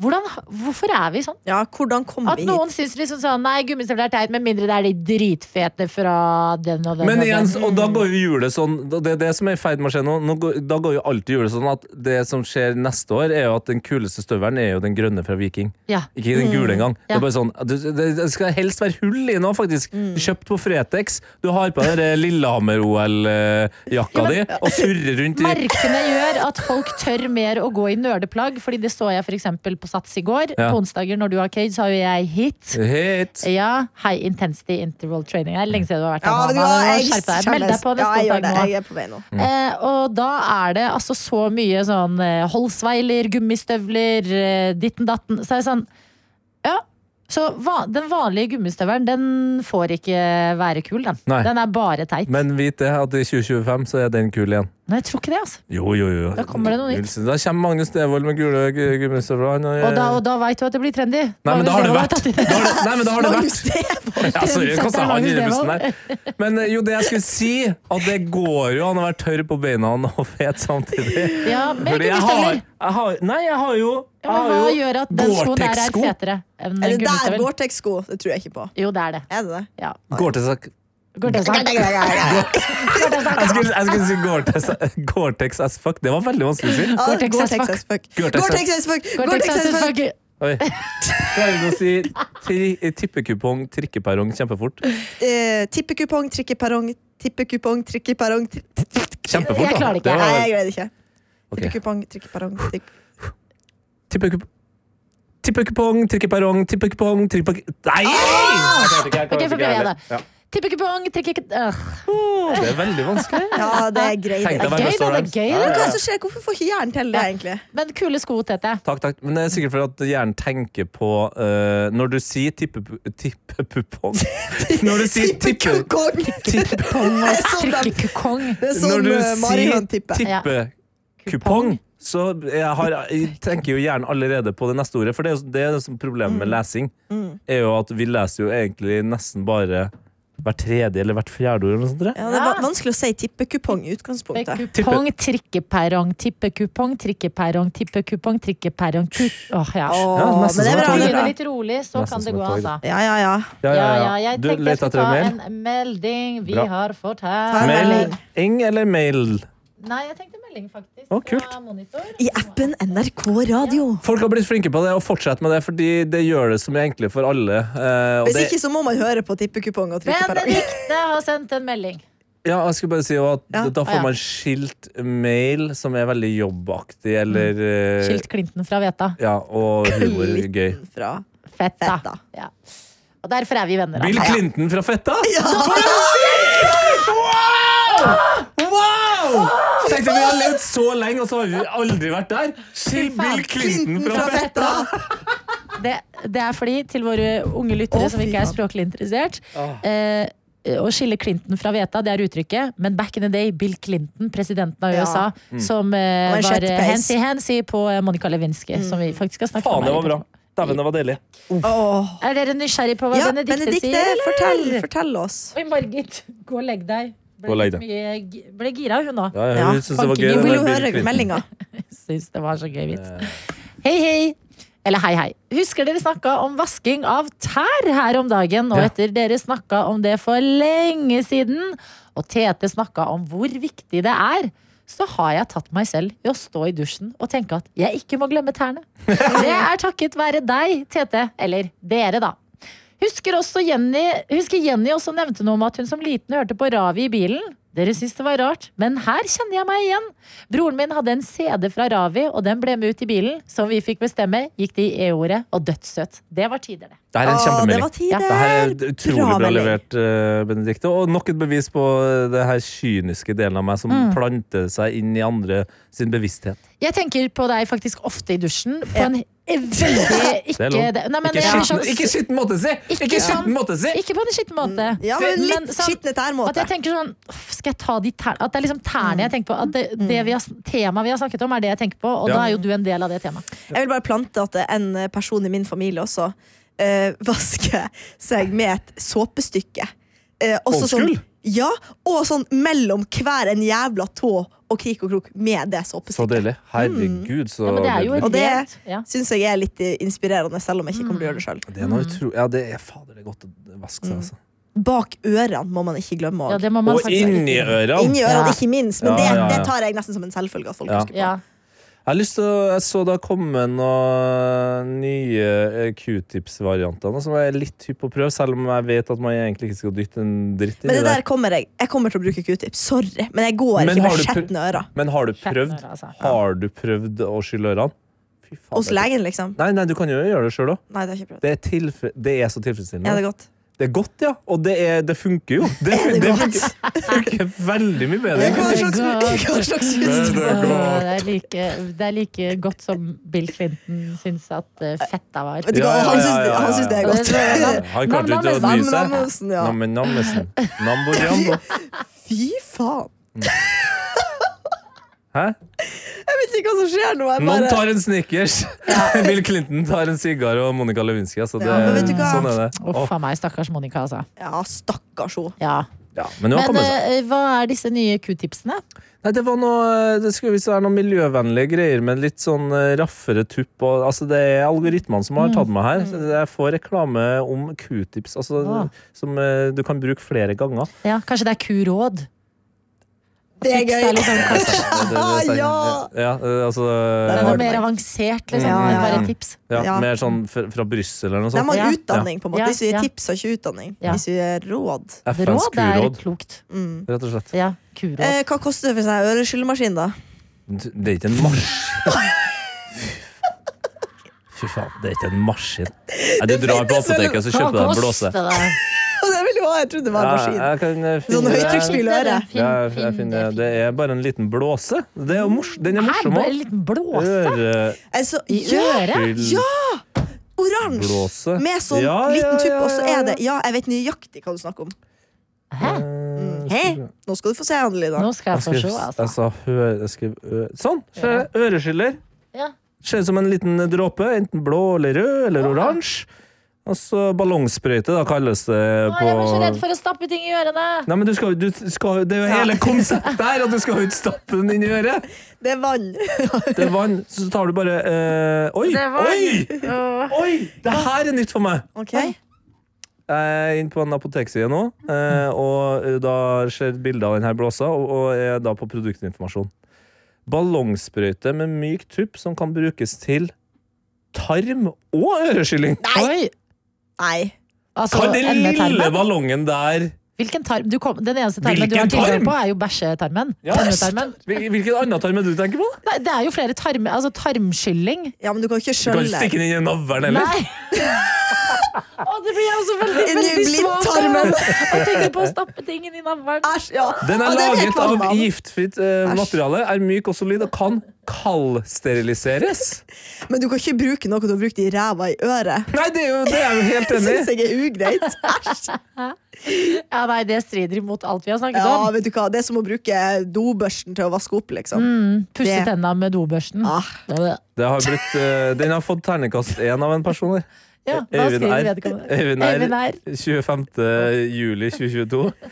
hvordan, hvorfor er vi sånn?
Ja, hvordan kom
At
vi hit?
noen syns liksom sånn Nei, gummistøvler er teit, med mindre det er de dritfete fra den og den. Mm.
Men
og
igjen,
den.
og da går jo hjulet sånn og Det er det som er i ferd med å skje nå. nå går, da går jo alltid hjulet sånn at det som skjer neste år, er jo at den kuleste støvelen er jo den grønne fra Viking.
Ja.
Ikke den gule engang. Det
Mm. Ja. Mm.
er bare sånn du- Det det skal helst være hull i nå, faktisk. Kjøpt på Fretex. Du har på deg Lillehammer-OL-jakka eh, di og surrer rundt i
Merkene gjør at folk tør mer å gå i nerdeplagg, fordi det så jeg f.eks. på Sats i går.
Ja.
På onsdager når du har cage, så har jo jeg hit.
Hit.
Ja, High Intensity Interval Training. Det er lenge siden du har vært
Ja,
her,
vet du
mamma. Nå
hva, jeg
skjerp deg. Meld deg på
Ja,
neste
jeg gjør det.
onsdag nå.
Jeg er på vei nå.
Eh, og da er det altså så mye sånn eh, holdsveiler, gummistøvler, eh, ditten datten. Så er det sånn Ja. Så va den vanlige gummistøvelen, den får ikke være kul, den.
Nei.
Den er bare teit.
Men vit det, at i 2025 så er den kul igjen.
Nei, jeg tror ikke det, altså.
Jo, jo, jo.
Da kommer det noe nytt.
Da kommer Magnus Devold med gule gu- gummistøvler. Han er-
Og da, og da veit du at det blir trendy.
Eh. Nei, men da har det
Magnus
vært.
Devold har tatt i
Da har det- Nei, men da
[LAUGHS]
har det vært.
Magnus Devold.
Ja, sorry, jeg kastet
Trendsetter
han i
Magnus
bussen der. Men eh, jo, det jeg skulle si, at det går jo an å være tørr på beina og fet samtidig.
det. Ja, med
Fordi jeg har,
gummistøvler.
jeg har Nei, jeg har jo
Ja, men hva gjør at den skoen der er
Gore-Tex-sko.
fetere enn
Ah, Er
en
det der
gummistøvel?
Gore-Tex-sko? Det tror jeg ikke på.
Jo, det er det.
Er det det?
Ja.
Gore-Tex
Går det sånn?
Jeg skulle, jeg skulle si Gore-Tex- Gore-Tex as fuck. Det var veldig vanskelig å si.
Ja,
Gore-Tex as fuck.
as fuck.
Gore-Tex
Gore-Tex as fuck.
Gore-Tex
Gore-Tex as fuck.
Oi. Klarer du å si tri tippekupong, trikkeperrong kjempefort?
Eh, Tippekupong, trikkeperrong, tippekupong, trikkeperrong tri-
Kjempefort,
Jeg klarer det ikke.
Det
Nei, jeg
var,
greide det ikke.
ok.
Tippekupong, trikkeperrong, trikk...
tippekup- Tippekupong, trikkeperrong, tippekupong, trippek... Nei! Jeg klarte ikke, jeg klarte
Ok, for
ikke jeg
prøv igjen
heller. Ja.
Tippekupong, tippekupong øh.
Det er veldig vanskelig.
Ja, det er
Tenk
greit.
deg å
gøy, da,
være restaurant.
det er gøy,
Ja,
da.
ja,
Hva er
ja.
det som skjer? Hvorfor får ikke hjernen til det, egentlig?
Men kule sko, Tete.
Takk, takk. Men det er sikkert fordi at hjernen tenker på eh, Når du sier tippepu- tippepupong [LAUGHS] Når du sier [LAUGHS] tippe...
Kong!
Tippepong [LAUGHS]
Det er sånn, de- [LAUGHS]
Trikkekong.
det er
Når
sånn
du
eh, Marion
sier
tipper.
Ja.
tippekupong, så jeg, har, jeg tenker jo hjernen allerede på det neste ordet. For det er jo det, er det som er problemet
Mm.
med lesing. Er jo at vi leser jo egentlig nesten bare hvert tredje eller hvert fjerde ord. Eller noe sånt, tror jeg.
Ja, det er va- vanskelig å si tippekupong i utgangspunktet.
Tippekupong, trikkeperrong, tippekupong, trikkeperrong, tippekupong, trikkeperrong ku- Åh, ja.
Åh,
Ja, nesten
men det
som
er bra.
et tog.
Det
Begynne
er bra.
litt rolig, så
Nesten
kan det
som
gå,
et tog, da.
altså.
Ja, ja, ja.
Ja,
Ja, ja, jeg
Du
tenkte jeg
leter
skulle
etter
ta
en mail?
en melding. Vi
Bra.
har fått
Ta
her
en
Mail?
melding.
Eng eller mail?
Nei, jeg tenkte melding, faktisk.
Å,
fra
kult.
Monitor.
I appen NRK Radio.
Folk har blitt flinke på det, og fortsett med det, fordi det gjør det så mye enklere for alle. eh, og
Hvis
det-
ikke, så må man høre på tippekupong og trikkeperrong.
Benedikte har sendt en melding.
Ja, jeg skulle bare si jo at
Ja.
Da
Å,
får
ja.
man skilt mail, som er veldig jobbaktig, eller
Mm.
eh,
Skilt Clinton fra Veta.
Ja, og humor. Gøy.
Fra.
Fett, da.
Fett, da.
Ja. Og derfor er vi venner.
Bill
altså.
Clinton fra Fetta! Wow! Tenkte vi har levd så lenge, og så har vi aldri vært der! Skill Bill Clinton fra Fetta!
Det, det er fordi, til våre unge lyttere
Å,
som ikke
fy
er
faen.
språklig interessert
Ah.
eh, Å skille Clinton fra Veta, det er uttrykket, men back in the day, Bill Clinton, presidenten av
Ja.
USA,
Mm.
som eh,
Og en
var
kjøttpeis. Mm.
handsy-handsy på eh, Monica Lewinsky, som vi faktisk har snakket
Faen, det
her
var
i
bra. Dæven, det var deilig.
Åh.
Er dere nysgjerrig på hva
Ja,
Benedikte,
Benedikte,
sier? eller?
fortell, fortell oss.
Oi, Margit, gå og legg deg.
Gå
Ble,
og legg
litt mye, gi- ble gira, hun nå.
Ja, jeg
Ja,
synes det var
fucking you
gøy.
Vi
den
vil jo
der Bill
høre
Clinton.
meldinga.
Syns det var så gøy vits. Hei, hei. Eller hei, hei. Husker dere snakka om vasking av tær her om dagen? Og
Ja.
etter dere snakka om det for lenge siden, og Tete snakka om hvor viktig det er, så har jeg tatt meg selv i å stå i dusjen og tenke at jeg ikke må glemme
[LAUGHS]
tærne. Det er takket være deg, Tete. Eller dere, da. Husker også Jenny, husker Jenny også nevnte noe om at hun som liten hørte på Ravi i bilen. Dere syns det var rart, men her kjenner jeg meg igjen. Broren min hadde en CD fra Ravi, og den ble med ut i bilen. Som vi fikk bestemme, gikk det i E-ordet og dødssøt. Det var tider, det.
Det er en
Åh, det
kjempemelding.
var tider.
Det her er utrolig bra,
melding.
levert, eh, Benedikte. Og nok et bevis på eh, det her kyniske delen av meg som
Mm.
planter seg inn i andre sin bevissthet.
Jeg tenker på deg faktisk ofte i dusjen. På en [LAUGHS] veldig ikke
Det er lov.
det- Nei, men
ikke
jeg blir
skitten-
sånn-
ikke skitten måte, si!
Ikke
Ikke
sånn-
skitten måte, si!
Ikke på en skitten måte.
Ja, men
Men
litt
sånn-
skitne
At
tær-måte.
jeg tenker sånn «Uff, Skal jeg ta de tærne At det er liksom tærne jeg tenker på. At det, det vi har, sn- temaet vi har snakket om, er det jeg tenker på, og
Ja.
da er jo du en del av det temaet.
Jeg vil bare plante at en eh, person i min familie også eh, [LAUGHS] vasker seg med et såpestykke. Eh, også
Old school?
sånn- ja, og sånn mellom hver en jævla tå og krik og krok med det
Så
såpestykket.
deilig. Herregud, så
Ja, men det er jo
nydelig.
et
Og det-
rent-
Sånn.
ja.
Syns jeg er litt eh, inspirerende, selv om jeg ikke kommer til å gjøre det
Mm.
sjøl.
Det er noe utro... Ja, det er fader, det er godt å vaske seg, altså.
Bak ørene må man ikke glemme.
ja,
også.
det må Mm. man
Og
faktisk
inni
ikke-
ørene!
Inni
Ja.
ørene, ikke minst. Men
Ja,
det,
ja, ja.
det tar jeg nesten som en selvfølge. at folk
Ja.
husker på.
Ja.
Jeg har lyst til å, jeg så det har kommet noen nye eh, q-tips-varianter nå, som jeg er litt hypp på å prøve, selv om jeg vet at man egentlig ikke skal dytte en dritt inn
Men
i
det
det.
der kommer jeg Jeg kommer til å bruke q-tips. Sorry, men jeg går
Men
ikke
har
med
du pr-
skjetne ører.
Men har du
Skjønner,
prøvd?
altså.
Har du prøvd å skylle ørene? Fy faen,
Hos
det er-
legen, liksom.
Nei, nei, du kan jo gjøre det sjøl òg.
Nei, det har jeg ikke prøvd.
Det, er tilfre- det er så
Er
tilfredsstillende.
det godt?
det er godt, ja. Og det, er, det funker jo. Det,
Er det
det
godt?
funker, funker veldig mye bedre. enn
Hva
kutt.
slags, hva slags
Men det er
Åh,
godt.
Eh, Det er, like, det er like godt som Bill Clinton syns at eh, fetta var.
Vet du hva,
Ja, ja,
han syns
ja, ja, ja.
han syns det er godt.
Ja.
Han klarte ikke
Nam,
å ny seg.
Namnesen, ja.
Nam- Nammesen. Namboriambo.
Fy faen!
Hæ?
Jeg vet ikke hva som skjer nå. Jeg
Noen
bare,
tar en Snickers. [LAUGHS] Bill Clinton tar en sigar og Monica Lewinsky. Altså det,
Ja, men vet du hva?
sånn er det.
Uff a meg, stakkars Monica, altså.
ja, stakkars henne.
Ja.
Ja, men hun har
Men
kommet seg.
eh, hva er disse nye q-tipsene?
Nei, det var noe Det skulle visst være noen miljøvennlige greier med litt sånn eh, raffere tupp og Altså, det er algoritmene som har tatt meg her. Så jeg får reklame om q-tips, altså
Ah.
som eh, du kan bruke flere ganger.
Ja, kanskje det er q-råd?
Det er
Tips
gøy.
litt sånn, kanskje
Det, det, det, sier-
Ja!
ja, eh, altså
det er
har
noe
du
mer
meg.
avansert, liksom.
Ja,
enn
ja, ja.
Bare tips.
ja,
Ja.
Mer sånn fra, fra Brussel eller noe
De
sånt.
har
Ja.
utdanning, på en måte.
Ja,
De gir
ja.
tips og ikke utdanning.
Ja.
De gir råd.
FNs
Råd er
Q-råd,
klokt.
Mm.
rett og slett.
Ja, q-råd.
Eh, hva koster det [LAUGHS] for seg øreskyllemaskin, da?
Det er ikke en marsj. Fy faen, det er ikke en maskin. Nei, du drar på apoteket og kjøper deg en blåse.
[LAUGHS]
Og det ville jo ha, jeg trodde det var en
Ja,
maskin.
jeg kan eh, finne
Sånn høytrykksspyler.
Ja, jeg, jeg finner, det er bare en liten blåse. Det er jo mors, den er
Her,
morsom
bare en
òg.
liten blåse
Øreblåse.
Altså,
i
ja,
øret.
oransje! Med sånn
Ja, ja,
liten tupp,
ja,
og så
ja,
er det Ja, jeg vet nøyaktig hva du snakker om.
Hæ?
Eh,
Mm,
Hei,
skal-
nå skal du få se, Annelina.
Nå skal jeg få
Jeg
se,
skrev,
altså.
jeg sa hø, jeg skrev ø. Sånn! Se, øreskiller.
Ja.
Ser ut som en liten dråpe. Enten blå eller rød eller oransje. Og så ballungsprøyte, da kalles det
Å,
på
jeg var så redd for å stappe ting i ørene.
Nei, men du skal, du skal, Det er jo
[LAUGHS]
hele konseptet her at du skal jo ikke stappe den inn i øret!
Det er vann.
Det er vann, så tar du bare eh, Oi!
Det var-
Oi!
Åh.
Oi! Det her er nytt for meg!
Ok?
Jeg er inne på en apotekside nå, eh, og eh, da ser jeg bilder av denne blåsa, og, og er da på produktinformasjon. Ballongsprøyte med myk tupp som kan brukes til tarm- og øreskylling.
Oi!
Nei.
Altså,
Kan den lille
endetarmen.
ballongen der
Hvilken tarm? Du kom, den eneste tarmen du
Hvilken
har tilgang
tarm?
på, er jo bæsjetarmen.
Ja.
Tarmetarmen.
Hvil- Hvilken annen tarm er det du tenker på?
Nei, det er jo flere tarmer. Altså tarmskylling.
Ja, men du kan ikke
Du kan
skjølle.
ikke stikke den inn i navlen heller.
Nei! [LAUGHS] Å, det blir jeg også veldig,
Inn i
veldig svak
blindtarmen.
Jeg tenker på å stappe ting inn i navlen.
Æsj, ja.
Den er
Ja, det vet
laget
man,
av
mann.
giftfritt eh,
Æsj.
materiale, er myk og solid og kan kaldsteriliseres.
Men du kan ikke bruke noe du har brukt i ræva i
[LAUGHS]
øret.
Nei, det er jo det er jeg jo helt
Det
enig i.
syns [LAUGHS] jeg er ugreit.
[LAUGHS]
Æsj.
Ja, nei, det strider imot alt vi har snakket
Ja,
om.
vet du hva? Det er som å bruke dobørsten til å vaske opp, liksom.
Mm. Pusse
det-
tenna med dobørsten.
Ah.
Det har blitt, eh, den har fått terningkast én av en person her.
Ja, hva
E- Øyvind
skriver
R.
vedkommende?
Øyvind
Øyvind
R.
R.
25. juli 2022.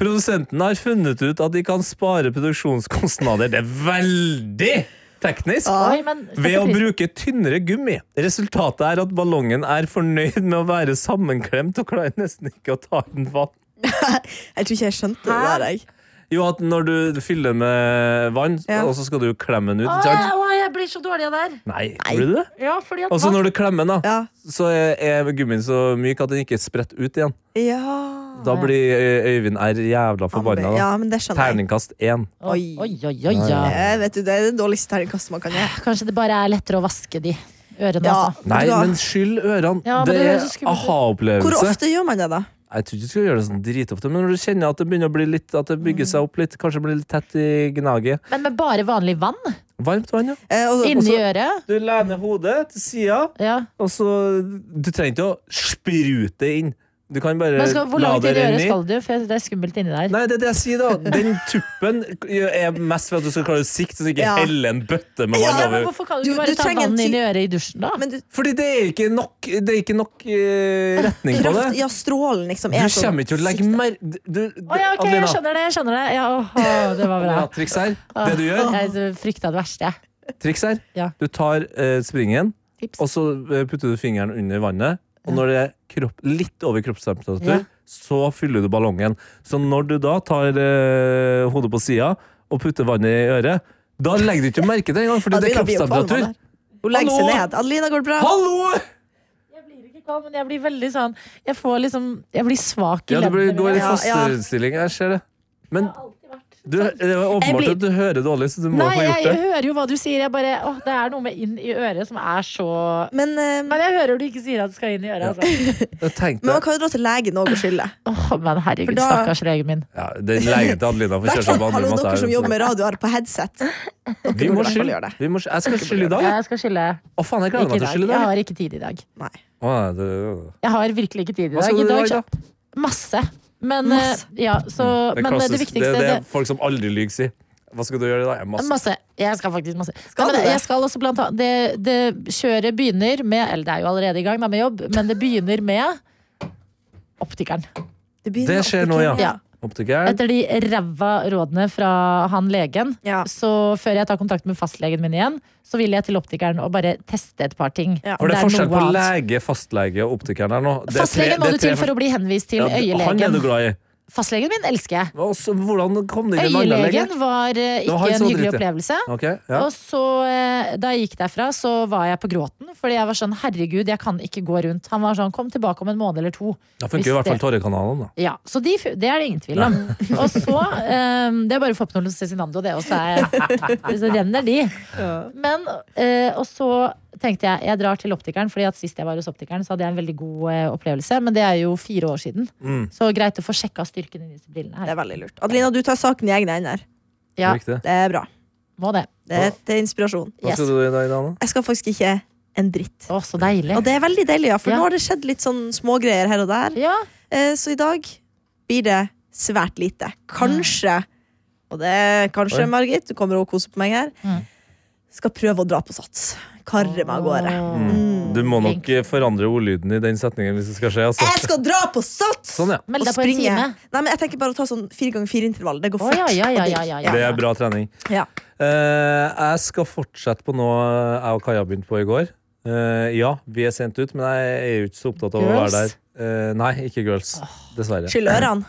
Produsenten har funnet ut at de kan spare produksjonskostnader. Det er veldig teknisk!
Ja.
Oi, men
Ved å
setter pris-
bruke tynnere gummi. Resultatet er at ballongen er fornøyd med å være sammenklemt og klarer nesten ikke å ta inn vann.
Jeg tror ikke jeg skjønte det
Hæ?
der, jeg.
Jo, at når du fyller med vann,
Ja.
og så skal du klemme den ut.
Å,
ikke
jeg,
sant?
å, jeg blir så dårlig av det her.
Nei, blir du det?
Ja, fordi at
Og så når du klemmer den, da,
Ja.
så er er gummien så myk at den ikke spretter ut igjen.
Ja.
Da blir Øy- Øyvind R jævla forbanna.
ja,
da.
men det skjønner jeg.
Terningkast én.
Oi,
Oi.
oi, oi, oi, ja.
Eh, vet du, Det er det dårligste terningkastet man kan gi.
Kanskje det bare er lettere å vaske de ørene,
Ja.
altså.
Nei,
Ja.
men skyld ørene.
Ja, men det
det er
høres så skummelt ut.
Hvor
aha-opplevelse.
ofte gjør man det, da?
Jeg tror ikke du skal gjøre det sånn dritofte, men når du kjenner at det begynner å bli litt At det bygger seg opp litt, kanskje blir litt tett i gnaget.
Men med bare vanlig vann
Varmt vann, ja.
Eh, og- og
inni
så-
øret?
Du lener hodet til sida,
Ja.
og så Du trenger ikke å sprute det inn. Du kan bare
Men skal, hvor
la
langt
det
inn i øret
renne i.
skal du? For det er skummelt inni der.
Eh, Nei, det er det jeg sier, da. Den tuppen er mest for at du skal klare å sikte, så du ikke
Ja.
heller en bøtte med vann
Ja,
men
over.
hvorfor kan du
Du-
ikke bare
du
ta
trenger en
vann inn
ti-
i øret i dusjen, da?
Men du,
Fordi det er ikke nok, det er ikke nok eh, retning på
kraft,
det.
ja, strålen liksom
Du
er sånn
kommer ikke til å legge
sikte.
mer... Du, du-
Å ja, ok, jeg skjønner det. jeg skjønner Det ja, åh, åh, det var
Adelina,
bra.
ja, triks her.
Ah.
Det du gjør,
Jeg frykta det verste, jeg.
triks her.
Ja.
Du tar eh, springen,
Tips.
og så eh, putter du fingeren under vannet. Og når det er kropp, litt over kroppstemperatur,
Ja.
så fyller du ballongen. Så når du da tar eh, hodet på sida og putter vannet i øret, da legger du ikke merke til det engang, fordi det er
Adelina blir jo kvalm av
kroppstemperatur.
det her. Hun legger seg
Hallo?
ned. Adelina, går det bra?
Hallo!
Jeg blir ikke kald, men jeg blir veldig sånn Jeg får liksom Jeg blir svak i
Ja, du blir- går i
Ja, ja.
fosterstilling. Jeg ser det. Men du,
Sånn.
det er åpenbart
blir-
at du hører dårlig, så du må
Nei,
få gjort
jeg
det.
hører jo hva du sier. Jeg bare, åh, Det er noe med inn i øret som er så
Men, eh,
Men jeg hører du ikke sier at det skal inn i øret. Altså.
Jeg tenkte,
men man kan jo dra til legen òg og skylde.
Åh, men herregud,
For da-
stakkars legen min.
ja, den legen til Adelina
[LAUGHS]
får kjøre seg på andre
Hallo,
måter.
dere som jobber med radio, har på headset. Dere
Vi
burde
må
i hvert fall gjøre
skylde.
det.
Vi må skyld. Jeg skal skylde i dag.
Jeg skal skylde.
Å, faen, jeg gleder
Ikke
meg
i
til å
dag.
skylde i
Jeg
dag.
har ikke tid i dag.
Nei.
Å, nei, det-
Jeg har virkelig ikke tid i
Hva
dag.
skal
I
du
dag
gjøre i
så-
dag?
Masse. Men,
Masse.
eh, ja, så,
Det er
men eh, det
klassisk.
viktigste
Det er
det,
det folk som aldri lyver, sier. Hva skal du gjøre i dag? Jeg er masse.
Masse. Jeg skal faktisk masse.
Skal
Nei, men
du det?
Jeg skal også blant annet, det, det kjøret begynner med Eller det er jo allerede i gang da, med jobb, men det begynner med optikeren.
begynner
Det
med
skjer nå,
optikeren,
Ja.
Optiker.
Etter de ræva rådene fra han legen,
Ja.
så før jeg tar kontakt med fastlegen min igjen, så vil jeg til optikeren og bare teste et par ting.
Ja.
Om
For det er forskjell
noe
på
annet.
lege, fastlege og optikeren her nå. Det er tre-
Fastlegen må
det er
du til
tre
for å bli henvist til
Ja, Han er du
øyelegen.
glad i.
Fastlegen min elsker jeg.
Og så, hvordan kom det inn en annen lege?
Øyelegen var eh,
var
ikke
han
en
som
hyggelig
dritte.
opplevelse.
Ok, ja.
Og så, eh, da jeg gikk derfra, så var jeg på gråten. Fordi jeg var sånn, herregud, jeg kan ikke gå rundt. Han var sånn, kom tilbake om en måned eller to.
Da funker
Hvis
i hvert fall
det-
tårekanalen, da.
Ja, Så de, fu- det er det ingen tvil om. [LAUGHS] og så eh, Det er bare å få opp
[LAUGHS]
noen Cezinando, det også. Er, så renner de. Men, eh, og så tenkte jeg jeg drar til optikeren, fordi at sist jeg var hos optikeren, så hadde jeg en veldig god eh, opplevelse. Men det er jo fire år siden.
Mm.
Så greit å få sjekka styrken i disse brillene her.
Det er veldig lurt. Adelina, du tar saken i egne hender.
Ja,
Riktig.
Det er bra.
må det.
Det er til inspirasjon.
Hva
Yes.
skal du i dag, Dana?
Jeg skal faktisk ikke en dritt.
Å, så deilig.
Og det er veldig deilig, ja, for
Ja.
nå har det skjedd litt sånn smågreier her og der.
Ja,
Eh, Så i dag blir det svært lite. Kanskje Og det er kanskje,
Oi.
Margit, du kommer og koser på meg her.
Mm.
Skal prøve å dra på sats. Karre meg av gårde. Mm.
Du må nok eh, forandre ordlyden i den setningen hvis det skal skje. Altså.
Jeg skal dra på sats!
Sånn, ja.
Meld
Og
deg på en
springe.
time.
Nei, men jeg tenker bare å ta sånn fire ganger fire-intervall. Det
Å,
går fort.
ja, ja, ja,
og digg.
ja, ja, ja.
Det er bra trening.
Ja.
Eh, jeg skal fortsette på noe jeg og Kaja begynte på i går. Eh, ja, vi er sendt ut, men jeg er jo ikke så opptatt av å være
Girls?
der. Eh, nei, ikke girls. Dessverre.
Skyll ørene.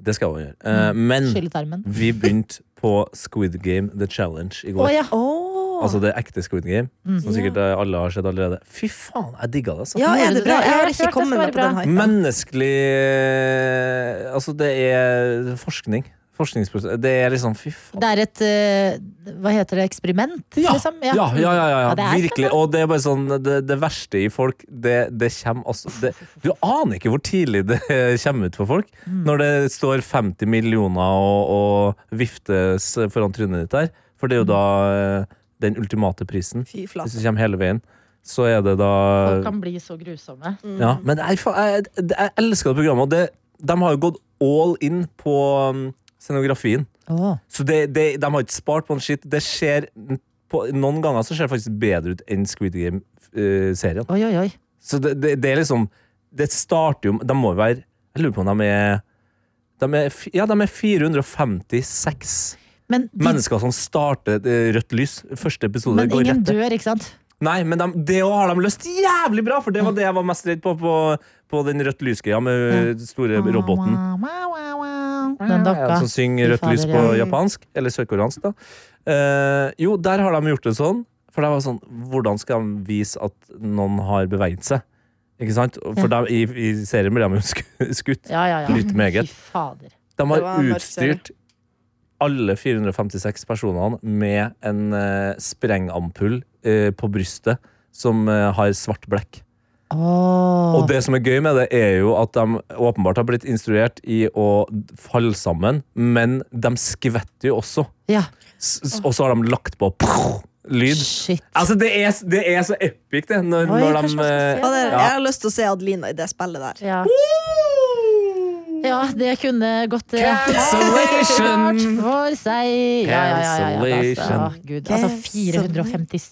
Det skal hun gjøre. Eh,
Mm,
men
Skyllet armen.
vi begynte på Squid Game The Challenge i
Å
går.
ja. Mm,
Åh.
Altså det ekte Squid Game, som
Ja.
sikkert eh, alle har sett allerede. Fy faen, jeg digga det. Altså.
ja,
Gjorde
er
du
det bra?
det?
Jeg
Ja,
har
jeg
ikke
hørte
kommet
det
meg
skal
på
være
den hypen.
Menneskelig Altså, det er forskning. Forskningsprosess. Det er liksom Fy faen.
Det er et eh, Hva heter det? Eksperiment?
Ja,
liksom?
ja, ja, ja, ja,
Ja, det er
virkelig.
spennende.
Og det er bare sånn, det, det verste i folk, det, det kommer altså det, Du aner ikke hvor tidlig det kommer ut for folk.
Mm.
Når det står 50 millioner og, og viftes foran trynet ditt der. For
Mm.
det er jo da eh, den ultimate prisen.
Fy
Hvis
flate.
du kommer hele veien, så er det da
Folk kan bli så grusomme.
ja, men jeg, fa- jeg, jeg elsker det programmet. Og det, de har jo gått all in på um, scenografien.
Åh.
Så det, det, de har ikke spart på en skitt. Det ser på, Noen ganger så ser det faktisk bedre ut enn Squid Game-serien.
Oi, oi, oi.
Så det, det, det er liksom Det starter jo De må jo være Jeg lurer på om de er de er, fi- ja, de er 456
Men, de,
mennesker som starter eh, rødt lys. Første episode
men
går
ingen
rett
dør, ikke sant?
Nei, men de, det også har de løst jævlig bra, for det var det jeg var mest redd på på, på den rødt lysgreia med eh, store roboten.
Ah,
Sånn
Den dokka.
Som synger rødt
Fy
lys
fader,
på
ja.
japansk, eller sørkoreansk, da. Eh, jo, der har de gjort det sånn. For det var sånn, hvordan skal de vise at noen har beveget seg? Ikke sant? For de, i, i serien blir de jo [LAUGHS] sku- skutt.
Ja, ja, ja.
Litt meget.
Fy fader.
De
Det
har
var en mørk serie.
utstyrt alle 456 personene med en eh, sprengampull eh, på brystet som eh, har svart blekk.
Åh.
Og det som er gøy med det, er jo at de åpenbart har blitt instruert i å falle sammen, men de skvetter jo også.
Ja.
S- s- Og så har de lagt på lyd.
Shit.
Altså, det er, det er så epic, det. Når,
Oi,
når
kanskje
de,
man skal
eh,
se
Og det,
det.
jeg har lyst til å se Adelina i det spillet der.
Ja. ja, det kunne gått eh, klart
Cancellation!
for seg. Ja, ja, ja. ja, ja. Altså,
Cancellation.
åh, Gud. Altså 456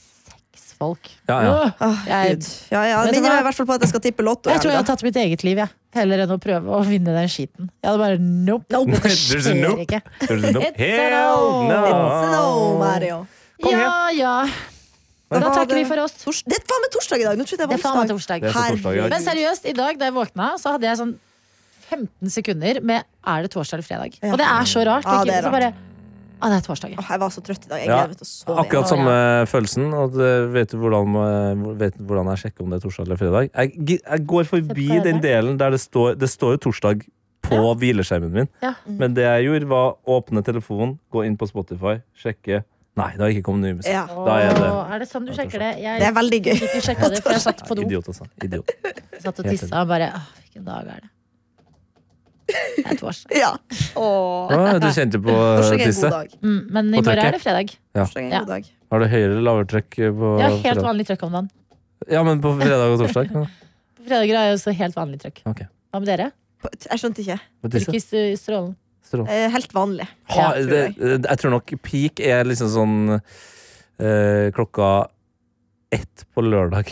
folk.
Ja, ja.
Åh,
Åh,
Jeg-
Gud. Ja, ja,
Vet
det
du
minner
hva?
meg i hvert fall på at jeg skal tippe Lotto.
Jeg tror jeg
i
hadde tatt mitt eget liv, jeg. Heller enn å prøve å vinne den skiten. Jeg hadde bare nope. Dette
[LAUGHS] There's a
skjer
nope.
ikke.
Hell no!
It's a
helga. Så nå, Mario.
Kom
Ja, ja. Da
var
takker vi
det-
for oss.
Tors det er faen meg torsdag i dag! Nå trodde jeg
Det
det
er faen
var
meg torsdag.
Det er på torsdag, ja.
Men seriøst, i dag da jeg våkna, så hadde jeg sånn 15 sekunder med Er det torsdag eller fredag?
Ja.
Og det er så rart.
Ja, det er
ikke? Så bare, ah, det er torsdag. ja.
Åh, jeg var så trøtt i dag. Jeg
Ja.
gleder meg til å sove. igjen.
Akkurat samme følelsen. Og det, vet, du hvordan, eh, vet du hvordan jeg sjekker om det er torsdag eller fredag? Jeg, gi- jeg går forbi
Se på kalenderen.
den delen der det står, det står jo torsdag på hvileskjermen min.
Ja.
Men det jeg gjorde, var åpne telefonen, gå inn på Spotify, sjekke Nei, det har ikke kommet ny musikk.
Ja.
Da er det
Åh, er det sånn du sjekker det? Jeg
Det er veldig gøy. [LAUGHS]
fikk ikke sjekka det før jeg satt på do.
Idiot, altså. [LAUGHS] Idiot.
Satt og tissa og bare «Åh, Hvilken dag er det? Det er torsdag.
Ja.
Å, du kjente [LAUGHS] på
Torsdag er en god
tisset?
dag.
Mm, men i
Og
morgen
trykket?
er det fredag.
Torsdag er en
Ja.
god dag.
Har du høyere eller lavere trykk på
Jeg har helt
fredag?
vanlig trykk om dagen.
Ja, men på fredag og torsdag?
[LAUGHS]
Ja.
På fredager har jeg også helt vanlig trykk.
Ok.
Hva med dere?
På- Jeg skjønte ikke.
På
Trykk
tisset?
i st- strålen.
Strål.
Eh, Helt vanlig.
Ha,
Ja, tror
det, eh, jeg tror nok peak er liksom sånn eh, klokka ett på lørdag.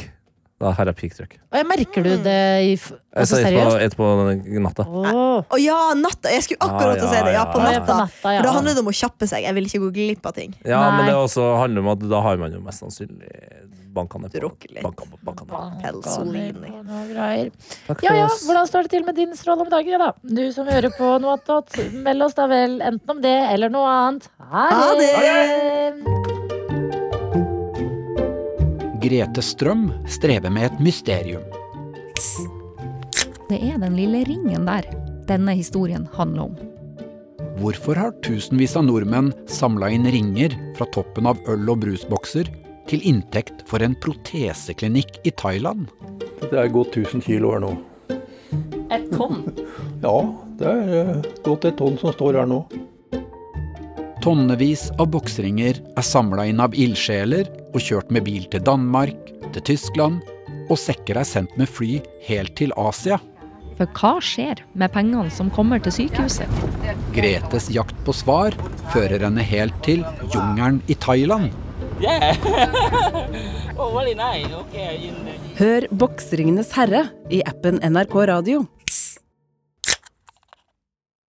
Da her er peak-trykk.
Og jeg merker
Mm.
du det i f- altså,
Altså ett på,
seriøst?
ett på natta.
Åh,
Å ja, natta! Jeg skulle akkurat til å si det. Ja, på
ja, ja, på
natta.
natta,
For da
ja.
handler det om å kjappe seg. Jeg vil ikke gå glipp av ting.
Ja,
Nei.
men det også handler om at da har man jo mest sannsynlig bankene på.
Drukker litt.
Bankene på, bankene på.
Pelsolini.
Bankene på noe greier.
Takk for
Ja ja,
oss.
hvordan står det til med din stråle om dagen, da? Du som hører på noe attåt, meld oss da vel enten om det eller noe annet.
Ha det!
Grete Strøm strever med et mysterium.
Det er den lille ringen der denne historien handler om.
Hvorfor har tusenvis av nordmenn samla inn ringer fra toppen av øl- og brusbokser til inntekt for en proteseklinikk i Thailand.
Det er gått 1000 kilo her nå.
Et tonn?
Ja, det er eh, godt et tonn som står her nå.
Tonnevis av boksringer er samla inn av ildsjeler og kjørt med bil til Danmark, til Tyskland, og sekker er sendt med fly helt til Asia.
For hva skjer med pengene som kommer til sykehuset?
Gretes jakt på svar fører henne helt til jungelen i Thailand.
Hør Boksringenes herre i appen NRK Radio.